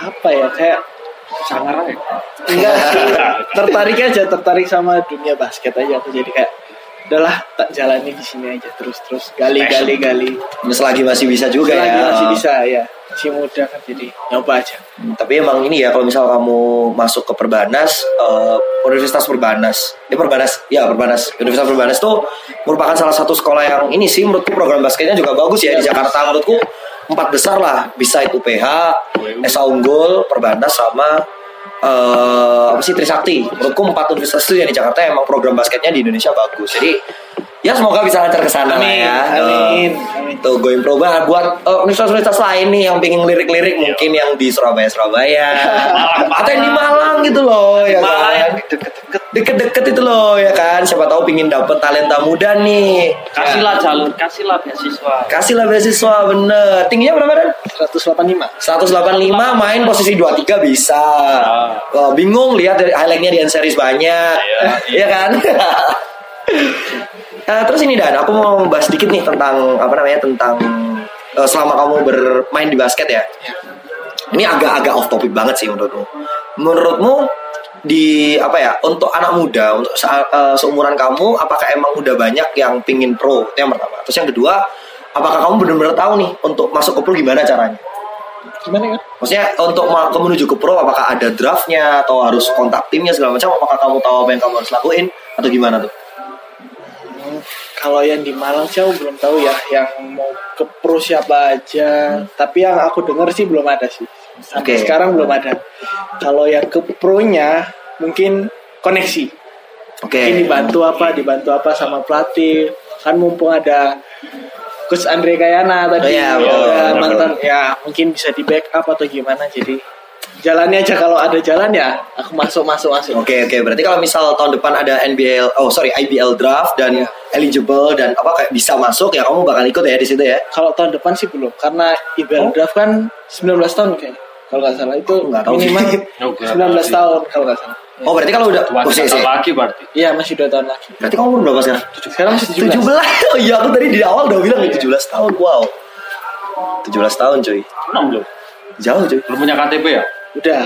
[SPEAKER 3] apa ya kayak
[SPEAKER 1] sangar aja
[SPEAKER 3] enggak sih. tertarik aja tertarik sama dunia basket aja aku jadi kayak udahlah tak jalani di sini aja terus terus gali
[SPEAKER 1] Passion.
[SPEAKER 3] gali gali
[SPEAKER 2] selagi masih bisa juga
[SPEAKER 3] Selagi
[SPEAKER 2] ya
[SPEAKER 3] masih bisa ya si muda kan jadi nyoba aja
[SPEAKER 2] Hmm, Tapi emang ini ya kalau misal kamu masuk ke Perbanas, eh, Universitas Perbanas, ya Perbanas, ya Perbanas, Universitas Perbanas tuh merupakan salah satu sekolah yang ini sih menurutku program basketnya juga bagus ya di Jakarta menurutku empat besar lah bisa itu PH, Esa Unggul, Perbanas sama eh, apa sih Trisakti. Menurutku empat universitas itu yang di Jakarta emang program basketnya di Indonesia bagus. Jadi ya semoga bisa lancar ke sana lah
[SPEAKER 3] Amin,
[SPEAKER 2] ya. Eh,
[SPEAKER 3] amin, amin.
[SPEAKER 2] Tuh going pro banget buat eh, universitas-universitas lain nih yang pingin lirik-lirik mungkin yang di Surabaya Surabaya atau yang di Malang gitu loh ya
[SPEAKER 1] Malang yang
[SPEAKER 2] kan deket-deket itu loh ya kan siapa tahu pingin dapet talenta muda nih
[SPEAKER 1] kasihlah jalur kasihlah beasiswa
[SPEAKER 2] kasihlah beasiswa bener tingginya berapa dan
[SPEAKER 3] 185
[SPEAKER 2] 185 main posisi 23 bisa Oh, bingung lihat dari highlightnya di end series banyak Iya kan Nah, terus ini Dan, aku mau bahas sedikit nih tentang apa namanya tentang eh, selama kamu bermain di basket ya. Ini agak-agak off topic banget sih menurutmu. Menurutmu di apa ya untuk anak muda untuk se- eh, seumuran kamu apakah emang udah banyak yang pingin pro itu yang pertama. Terus yang kedua apakah kamu benar-benar tahu nih untuk masuk ke pro gimana caranya?
[SPEAKER 3] gimana kan
[SPEAKER 2] Maksudnya untuk ma- ke menuju ke pro apakah ada draftnya atau harus kontak timnya segala macam? Apakah kamu tahu apa yang kamu harus lakuin atau gimana tuh?
[SPEAKER 3] Kalau yang di Malang sih aku belum tahu ya yang mau ke pro siapa aja. Tapi yang aku dengar sih belum ada sih. Sampai
[SPEAKER 2] Oke.
[SPEAKER 3] sekarang belum ada. Kalau yang ke pro-nya mungkin koneksi.
[SPEAKER 2] Oke.
[SPEAKER 3] Mungkin dibantu apa, dibantu apa sama pelatih. Kan mumpung ada Coach Andre Kayana tadi
[SPEAKER 2] iya,
[SPEAKER 3] ya,
[SPEAKER 2] betul, betul,
[SPEAKER 3] mantan ya mungkin bisa di backup atau gimana jadi jalannya aja kalau ada jalan ya aku masuk masuk masuk
[SPEAKER 2] Oke oke berarti kalau misal tahun depan ada NBL oh sorry IBL draft dan
[SPEAKER 3] Iya.
[SPEAKER 2] eligible dan apa kayak bisa masuk ya kamu bakal ikut ya di situ ya.
[SPEAKER 3] Kalau tahun depan sih belum karena IBL draft kan 19 tahun kayaknya. Kalau nggak salah itu
[SPEAKER 2] Oh. Nggak tahu sih.
[SPEAKER 3] minimal
[SPEAKER 1] Oh, nggak
[SPEAKER 3] 19
[SPEAKER 1] tahu.
[SPEAKER 3] tahun kalau nggak salah.
[SPEAKER 2] Oh berarti kalau udah
[SPEAKER 1] Dua
[SPEAKER 2] oh, sih,
[SPEAKER 1] juta
[SPEAKER 2] sih.
[SPEAKER 1] lagi berarti.
[SPEAKER 3] Iya masih 2 tahun lagi.
[SPEAKER 2] Berarti kamu umur berapa sekarang?
[SPEAKER 3] Sekarang masih
[SPEAKER 2] 17.
[SPEAKER 3] 17.
[SPEAKER 2] Oh iya aku tadi di awal udah bilang 17 tahun. Wow. 17 tahun cuy.
[SPEAKER 1] Enam belum.
[SPEAKER 2] Jauh cuy.
[SPEAKER 1] Belum punya KTP ya? Iya.
[SPEAKER 3] Udah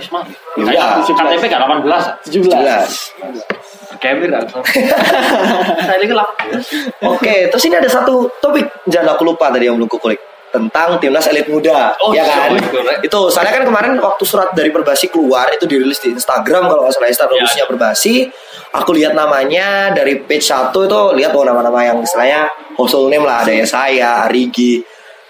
[SPEAKER 1] Wis mati.
[SPEAKER 2] Ya,
[SPEAKER 1] Kayak
[SPEAKER 2] udah.
[SPEAKER 1] KTP gak 18 ah.
[SPEAKER 2] 17.
[SPEAKER 3] 17.
[SPEAKER 1] Kemir kan. Saya lagi lah.
[SPEAKER 2] Oke, terus ini ada satu topik jangan aku lupa tadi yang belum kukulik tentang timnas elit muda,
[SPEAKER 1] Oh,
[SPEAKER 2] ya kan?
[SPEAKER 1] iya, betul, right?
[SPEAKER 2] Itu soalnya kan kemarin waktu surat dari Perbasi keluar itu dirilis di Instagram kalau nggak salah Instagram
[SPEAKER 1] Iya.
[SPEAKER 2] khususnya Perbasi. Aku lihat namanya dari page 1 itu lihat oh nama-nama yang istilahnya household name lah ada ya saya, Arigi.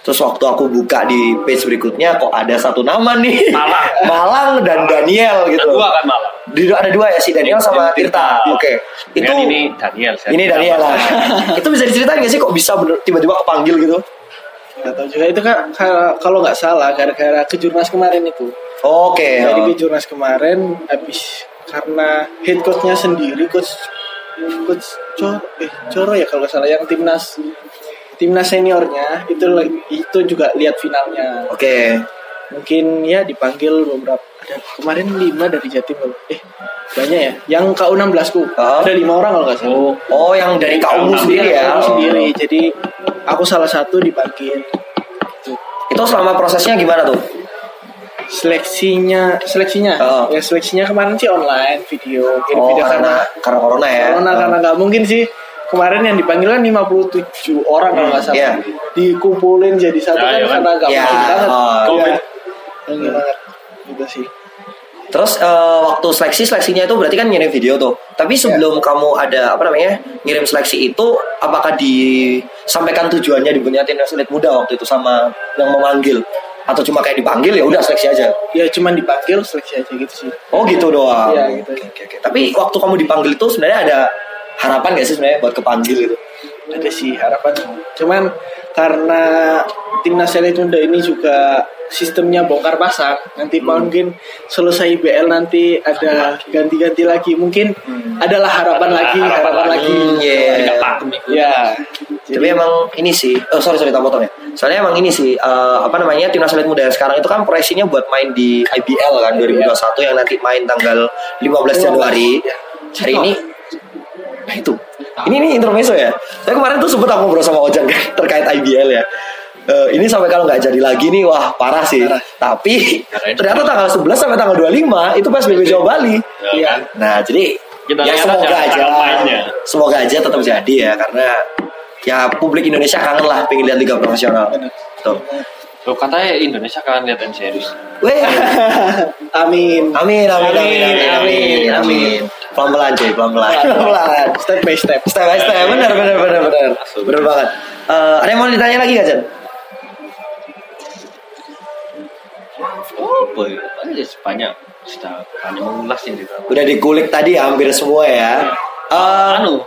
[SPEAKER 2] Terus waktu aku buka di page berikutnya kok ada satu nama nih.
[SPEAKER 1] Malang.
[SPEAKER 2] Malang dan Daniel gitu.
[SPEAKER 1] Dua kan malah.
[SPEAKER 2] Di- ada dua ya si Daniel sama Tirta.
[SPEAKER 1] Tirta.
[SPEAKER 2] Oke. Itu
[SPEAKER 1] Itu ini Daniel. saya
[SPEAKER 2] ini
[SPEAKER 1] tidak
[SPEAKER 2] Daniel ah. lah.
[SPEAKER 1] masalah.
[SPEAKER 2] itu bisa diceritain gak sih kok bisa bener- tiba-tiba kepanggil gitu?
[SPEAKER 3] Nggak tahu juga itu kan ka- kalau nggak salah gara-gara kejurnas kemarin itu.
[SPEAKER 2] Oke.
[SPEAKER 3] Jadi
[SPEAKER 2] oh.
[SPEAKER 3] kejurnas kemarin habis karena head coachnya sendiri coach coach Coro, eh, Coro ya kalau nggak salah yang timnas timnas seniornya itu lagi- itu juga lihat finalnya
[SPEAKER 2] Oke.
[SPEAKER 3] mungkin ya dipanggil beberapa ada kemarin lima dari Jatim loh. eh banyak ya yang KU16 ku
[SPEAKER 2] Ah.
[SPEAKER 3] ada lima orang kalau nggak salah
[SPEAKER 1] Oh,
[SPEAKER 2] Oh, yang dari Kak Umu
[SPEAKER 1] Yang
[SPEAKER 2] sendiri ya?
[SPEAKER 3] Aku
[SPEAKER 2] Oh.
[SPEAKER 3] sendiri jadi aku salah satu dipanggil
[SPEAKER 2] Itu selama prosesnya gimana tuh?
[SPEAKER 3] seleksinya seleksinya
[SPEAKER 2] Ah.
[SPEAKER 3] ya seleksinya kemarin sih online video kirim
[SPEAKER 2] Oh,
[SPEAKER 3] video karena
[SPEAKER 2] karena karena corona ya.
[SPEAKER 3] corona
[SPEAKER 2] Oh.
[SPEAKER 3] karena nggak mungkin sih kemarin yang dipanggil kan 57 orang kalau nggak salah
[SPEAKER 2] Iya.
[SPEAKER 3] dikumpulin jadi satu
[SPEAKER 1] Ya,
[SPEAKER 3] kan
[SPEAKER 1] iya kan?
[SPEAKER 3] karena nggak
[SPEAKER 2] Iya.
[SPEAKER 3] mungkin banget
[SPEAKER 2] Ah.
[SPEAKER 1] Covid.
[SPEAKER 3] Iya. Mungkin banget gitu sih
[SPEAKER 2] Terus eh, waktu seleksi seleksinya itu berarti kan ngirim video tuh. Tapi sebelum kamu ada apa namanya ngirim seleksi itu, apakah disampaikan tujuannya dibenarkan timnas elit muda waktu itu sama yang memanggil? Atau cuma kayak dipanggil ya udah seleksi aja?
[SPEAKER 3] ya cuman dipanggil seleksi aja gitu sih
[SPEAKER 2] Oh gitu doang.
[SPEAKER 3] Iya, gitu.
[SPEAKER 2] Oke, oke, oke. Tapi waktu kamu dipanggil itu sebenarnya ada harapan gak sih sebenarnya buat kepanggil gitu?
[SPEAKER 3] ada sih harapan cuman karena timnas elit muda ini juga sistemnya bongkar pasang nanti mungkin selesai IBL nanti ada ganti-ganti lagi mungkin adalah harapan lagi
[SPEAKER 1] Harapan
[SPEAKER 3] harapan
[SPEAKER 1] lagi.
[SPEAKER 3] lagi
[SPEAKER 2] Iya.
[SPEAKER 1] Tidak pakem itu.
[SPEAKER 3] ya
[SPEAKER 2] Tapi emang ini sih, oh sorry sorry tak potong ya. Soalnya emang ini sih, eh, apa namanya timnas elit muda yang sekarang itu kan proyeksinya buat main di IBL kan 2021 yang nanti main tanggal 15 Januari. Hari ini, nah itu, ini ini intermezzo ya. Saya kemarin tuh sempet aku ngobrol sama Ojan kan terkait IBL ya. Eh, ini sampai kalau nggak jadi lagi nih, wah parah sih. Tapi ternyata tanggal 11 sampai tanggal 25 itu PSBB Jawa Bali.
[SPEAKER 1] Ya
[SPEAKER 3] Iya.
[SPEAKER 1] kan?
[SPEAKER 2] Nah, jadi
[SPEAKER 1] Kita
[SPEAKER 2] ya
[SPEAKER 1] lihat
[SPEAKER 2] semoga
[SPEAKER 1] aja
[SPEAKER 2] aja,
[SPEAKER 1] tanggal mainnya.
[SPEAKER 2] semoga aja tetap jadi ya karena ya publik Indonesia kangen lah pengen lihat liga profesional.
[SPEAKER 3] Benar.
[SPEAKER 2] Tuh.
[SPEAKER 1] Loh, katanya Indonesia kan lihat end series.
[SPEAKER 2] Weh,
[SPEAKER 3] amin
[SPEAKER 2] amin, amin, amin, amin, amin,
[SPEAKER 1] Amin.
[SPEAKER 2] amin. Pelan-pelan cuy, pelan-pelan, pelan-pelan.
[SPEAKER 3] step by step
[SPEAKER 2] Step by step, benar, benar, benar, benar, benar banget. Eh, ada yang mau ditanya lagi gak Jan?
[SPEAKER 1] Oh, boy. Ada banyak. Sudah banyak mengulas ini.
[SPEAKER 2] Udah dikulik tadi ya, hampir semua ya. Eh,
[SPEAKER 1] Anu,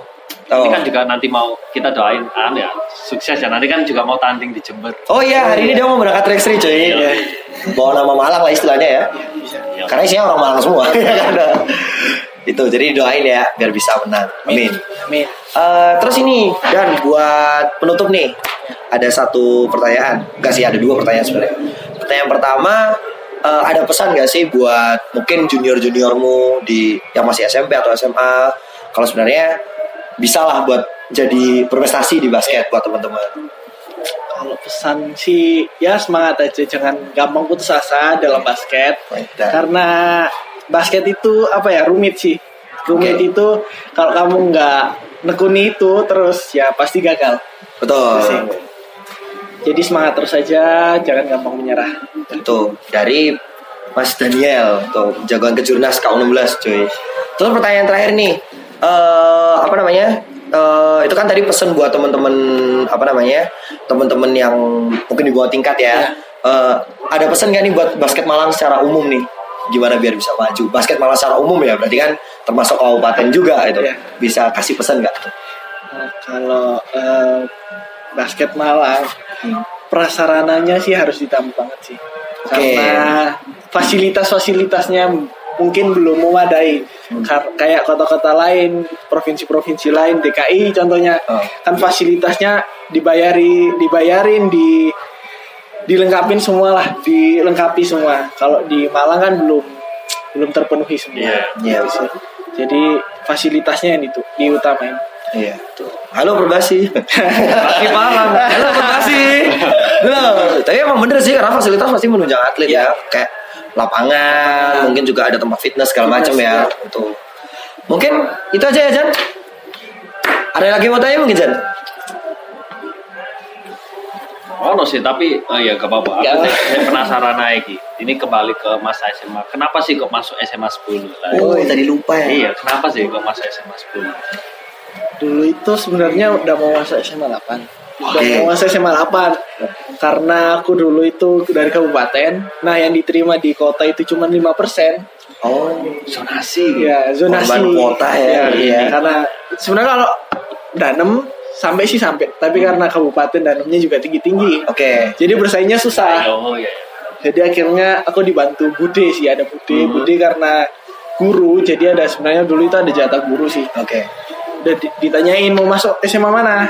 [SPEAKER 2] Oh.
[SPEAKER 1] ini kan juga nanti mau kita doain anu ya sukses ya nanti kan juga mau tanding di Jember.
[SPEAKER 2] oh iya, hari ini dia mau berangkat rekstri cuy.
[SPEAKER 1] Iya.
[SPEAKER 2] Bawa nama Malang lah istilahnya ya.
[SPEAKER 1] Ya.
[SPEAKER 2] Karena isinya orang Malang semua. Karena itu jadi doain ya biar bisa menang. Amin.
[SPEAKER 3] amin
[SPEAKER 2] Eh, terus ini dan buat penutup nih ada satu pertanyaan. Enggak sih ada dua pertanyaan sebenarnya. Pertanyaan pertama eh, ada pesan gak sih buat mungkin junior juniormu di yang masih SMP atau SMA kalau sebenarnya bisalah buat jadi berprestasi di basket buat teman-teman.
[SPEAKER 3] kalau pesan sih ya semangat aja jangan gampang putus asa dalam basket
[SPEAKER 2] Baik, dan-
[SPEAKER 3] karena basket itu apa ya rumit sih rumit
[SPEAKER 2] Oke.
[SPEAKER 3] itu kalau kamu nggak nekuni itu terus ya pasti gagal Pasti.
[SPEAKER 2] Betul.
[SPEAKER 3] jadi semangat terus aja jangan gampang menyerah
[SPEAKER 2] Tuh, dari Mas Daniel tuh jagoan kejurnas K16 cuy. Terus pertanyaan terakhir nih. eh apa namanya? eh, itu kan tadi pesan buat teman-teman apa namanya teman-teman yang mungkin di bawah tingkat ya. Eh, ada pesan nggak nih buat basket Malang secara umum nih? Gimana biar bisa maju? Basket Malang secara umum ya berarti kan termasuk kabupaten juga itu.
[SPEAKER 3] Iya.
[SPEAKER 2] Bisa kasih pesan nggak? tuh?
[SPEAKER 3] Nah, kalau eh, basket Malang prasarananya sih harus ditambah banget sih
[SPEAKER 2] Oke.
[SPEAKER 3] karena fasilitas-fasilitasnya mungkin belum memadai
[SPEAKER 2] Hmm.
[SPEAKER 3] Kar- kayak kota-kota lain provinsi-provinsi lain DKI contohnya
[SPEAKER 2] Oh.
[SPEAKER 3] kan fasilitasnya dibayari dibayarin di dilengkapin semua lah dilengkapi semua kalau di Malang kan belum belum terpenuhi semua
[SPEAKER 1] Iya.
[SPEAKER 2] Iya.
[SPEAKER 3] Gitu sih. jadi fasilitasnya yang itu diutamain
[SPEAKER 2] Iya. Halo Perbasi. Pasti malam. Halo Perbasi. Loh, tapi emang bener sih karena fasilitas pasti menunjang atlet ya. Kayak lapangan, mungkin juga ada tempat Iya. fitness segala macam ya. Itu. Mungkin itu aja ya Jan. Ada yang lagi mau tanya mungkin Jan?
[SPEAKER 1] Ono sih, tapi eh, ya gak apa-apa. Aku
[SPEAKER 2] Gak
[SPEAKER 1] sih- saya penasaran lagi. Ini kembali ke masa SMA. Kenapa sih kok masuk SMA 10? Lah,
[SPEAKER 2] Oh, tadi lupa
[SPEAKER 1] Iya, kenapa sih kok masuk SMA 10?
[SPEAKER 3] Dulu itu sebenarnya udah mau masuk SMA 8. Udah
[SPEAKER 2] Oke.
[SPEAKER 3] mau masuk SMA 8. Karena aku dulu itu dari kabupaten. Nah, yang diterima di kota itu cuma 5%.
[SPEAKER 2] Oh.
[SPEAKER 1] Zonasi.
[SPEAKER 3] Ya, zonasi.
[SPEAKER 2] Korban kuota ya. Iya.
[SPEAKER 3] karena sebenarnya kalau Danem sampai sih sampai, tapi karena kabupaten Danemnya juga tinggi-tinggi.
[SPEAKER 2] Hmm. Oke.
[SPEAKER 3] Jadi bersaingnya susah.
[SPEAKER 1] Oh, iya.
[SPEAKER 3] Jadi akhirnya aku dibantu Bude sih, ada Bude.
[SPEAKER 2] Hmm.
[SPEAKER 3] Bude karena guru, jadi ada sebenarnya dulu itu ada jatah guru sih.
[SPEAKER 2] Oke.
[SPEAKER 3] udah di- ditanyain mau masuk SMA mana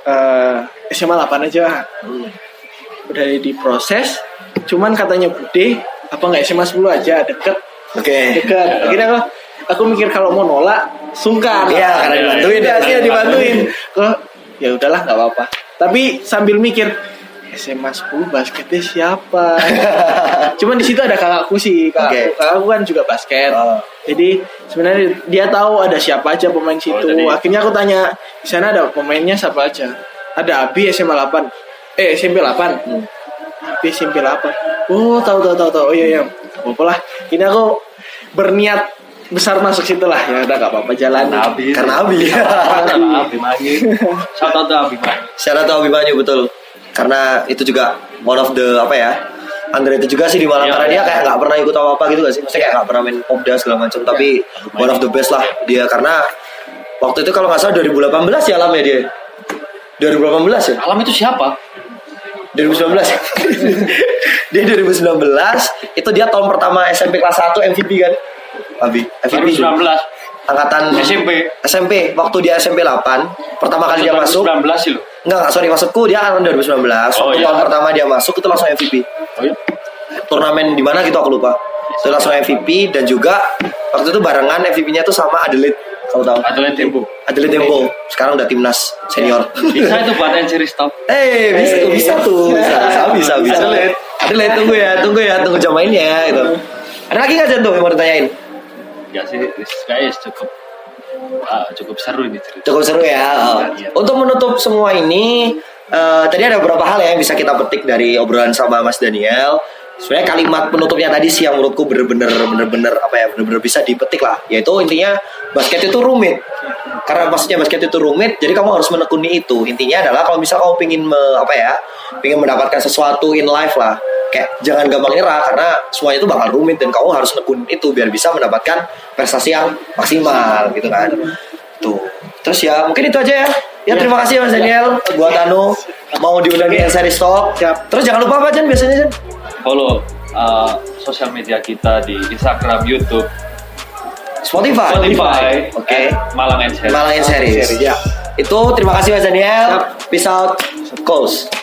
[SPEAKER 3] Eh, SMA 8 aja udah diproses cuman katanya Bude apa nggak SMA 10 aja deket
[SPEAKER 2] Oke.
[SPEAKER 3] deket akhirnya aku aku mikir kalau mau nolak sungkan
[SPEAKER 2] Iya, karena dibantuin
[SPEAKER 3] ya
[SPEAKER 2] ya.
[SPEAKER 3] sih dibantuin kok ya udahlah nggak apa-apa tapi sambil mikir SMA 10 basketnya siapa cuman di situ ada kakakku sih kakakku,
[SPEAKER 2] Oke.
[SPEAKER 3] kakakku kan juga basket
[SPEAKER 2] Oh.
[SPEAKER 3] jadi sebenarnya dia tahu ada siapa aja pemain situ.
[SPEAKER 1] jadi-
[SPEAKER 3] Akhirnya aku tanya, di sana ada pemainnya siapa aja? Ada Abi SMA 8. Eh SMP 8.
[SPEAKER 2] Hmm.
[SPEAKER 3] Abi SMP 8. Oh, tahu tahu tahu tahu. Oh iya iya. Gak apa-apa lah. Ini aku berniat besar masuk situ lah. Ya udah gak apa-apa jalan.
[SPEAKER 1] Nabi.
[SPEAKER 2] Karena Abi. Iya.
[SPEAKER 1] Karena Abi Mangi. Shout out to Abi Mangi.
[SPEAKER 2] Shout out to Abimanyu betul. Karena itu juga one of the apa ya? Andre itu juga sih di Malang
[SPEAKER 1] Iya,
[SPEAKER 2] karena
[SPEAKER 1] iya.
[SPEAKER 2] dia kayak nggak pernah ikut apa apa gitu gak sih? Maksudnya kayak nggak pernah main popda segala macam. Tapi
[SPEAKER 1] Iya.
[SPEAKER 2] one of the best lah dia karena waktu itu kalau nggak salah 2018 ya alamnya dia. 2018 ya?
[SPEAKER 1] Alam itu siapa?
[SPEAKER 2] 2019 dia 2019 itu dia tahun pertama SMP kelas 1 MVP kan? Abi, MVP
[SPEAKER 1] 2019.
[SPEAKER 2] angkatan
[SPEAKER 1] SMP.
[SPEAKER 2] SMP waktu dia SMP 8 pertama kali dia masuk
[SPEAKER 1] 2019 sih lo.
[SPEAKER 2] Enggak, enggak, sorry maksudku dia kan 2019 Waktu
[SPEAKER 1] Oh, iya.
[SPEAKER 2] tahun pertama dia masuk itu langsung MVP
[SPEAKER 1] Oh iya.
[SPEAKER 2] Turnamen di mana gitu aku lupa Itu langsung MVP dan juga Waktu itu barengan MVP-nya tuh sama Adelaide Kamu tahu?
[SPEAKER 1] Atlet Tempo.
[SPEAKER 2] Adelaide Dembo Sekarang udah timnas senior
[SPEAKER 1] Bisa itu buat Enjiri Stop.
[SPEAKER 2] Eh bisa,
[SPEAKER 3] Eh.
[SPEAKER 2] bisa tuh Bisa, bisa, bisa
[SPEAKER 1] Adelaide.
[SPEAKER 2] Adelaide tunggu ya, tunggu ya, tunggu jam mainnya gitu Ada lagi nggak Jan tuh yang mau ditanyain?
[SPEAKER 1] Ya sih, this guy is cukup ah, cukup seru ini cerita.
[SPEAKER 2] Cukup seru ya. Untuk menutup semua ini, eh, tadi ada beberapa hal ya yang bisa kita petik dari obrolan sama Mas Daniel. Sebenarnya kalimat penutupnya tadi sih yang menurutku bener-bener bener-bener apa ya bener-bener bisa dipetik lah. Yaitu intinya basket itu rumit. Karena maksudnya basket itu rumit, jadi kamu harus menekuni itu. Intinya adalah kalau misal kamu pingin me- apa ya, pingin mendapatkan sesuatu in life lah. Kayak jangan gampang nyerah karena semuanya itu bakal rumit dan kamu harus nekunin itu biar bisa mendapatkan prestasi yang maksimal gitu kan. Tuh. Terus ya mungkin itu aja ya. Ya terima kasih ya Mas Daniel buat Anu mau diundang di Series Talk.
[SPEAKER 3] Siap.
[SPEAKER 2] Terus jangan lupa apa Jan biasanya Jan?
[SPEAKER 1] Follow eh, sosial media kita di Instagram, YouTube,
[SPEAKER 2] Spotify.
[SPEAKER 1] Spotify, Ya.
[SPEAKER 2] Oke.
[SPEAKER 1] at Malang Enjiri.
[SPEAKER 2] Malang Series.
[SPEAKER 3] Series, ya.
[SPEAKER 2] Itu terima kasih Mas Daniel. Peace out. Close.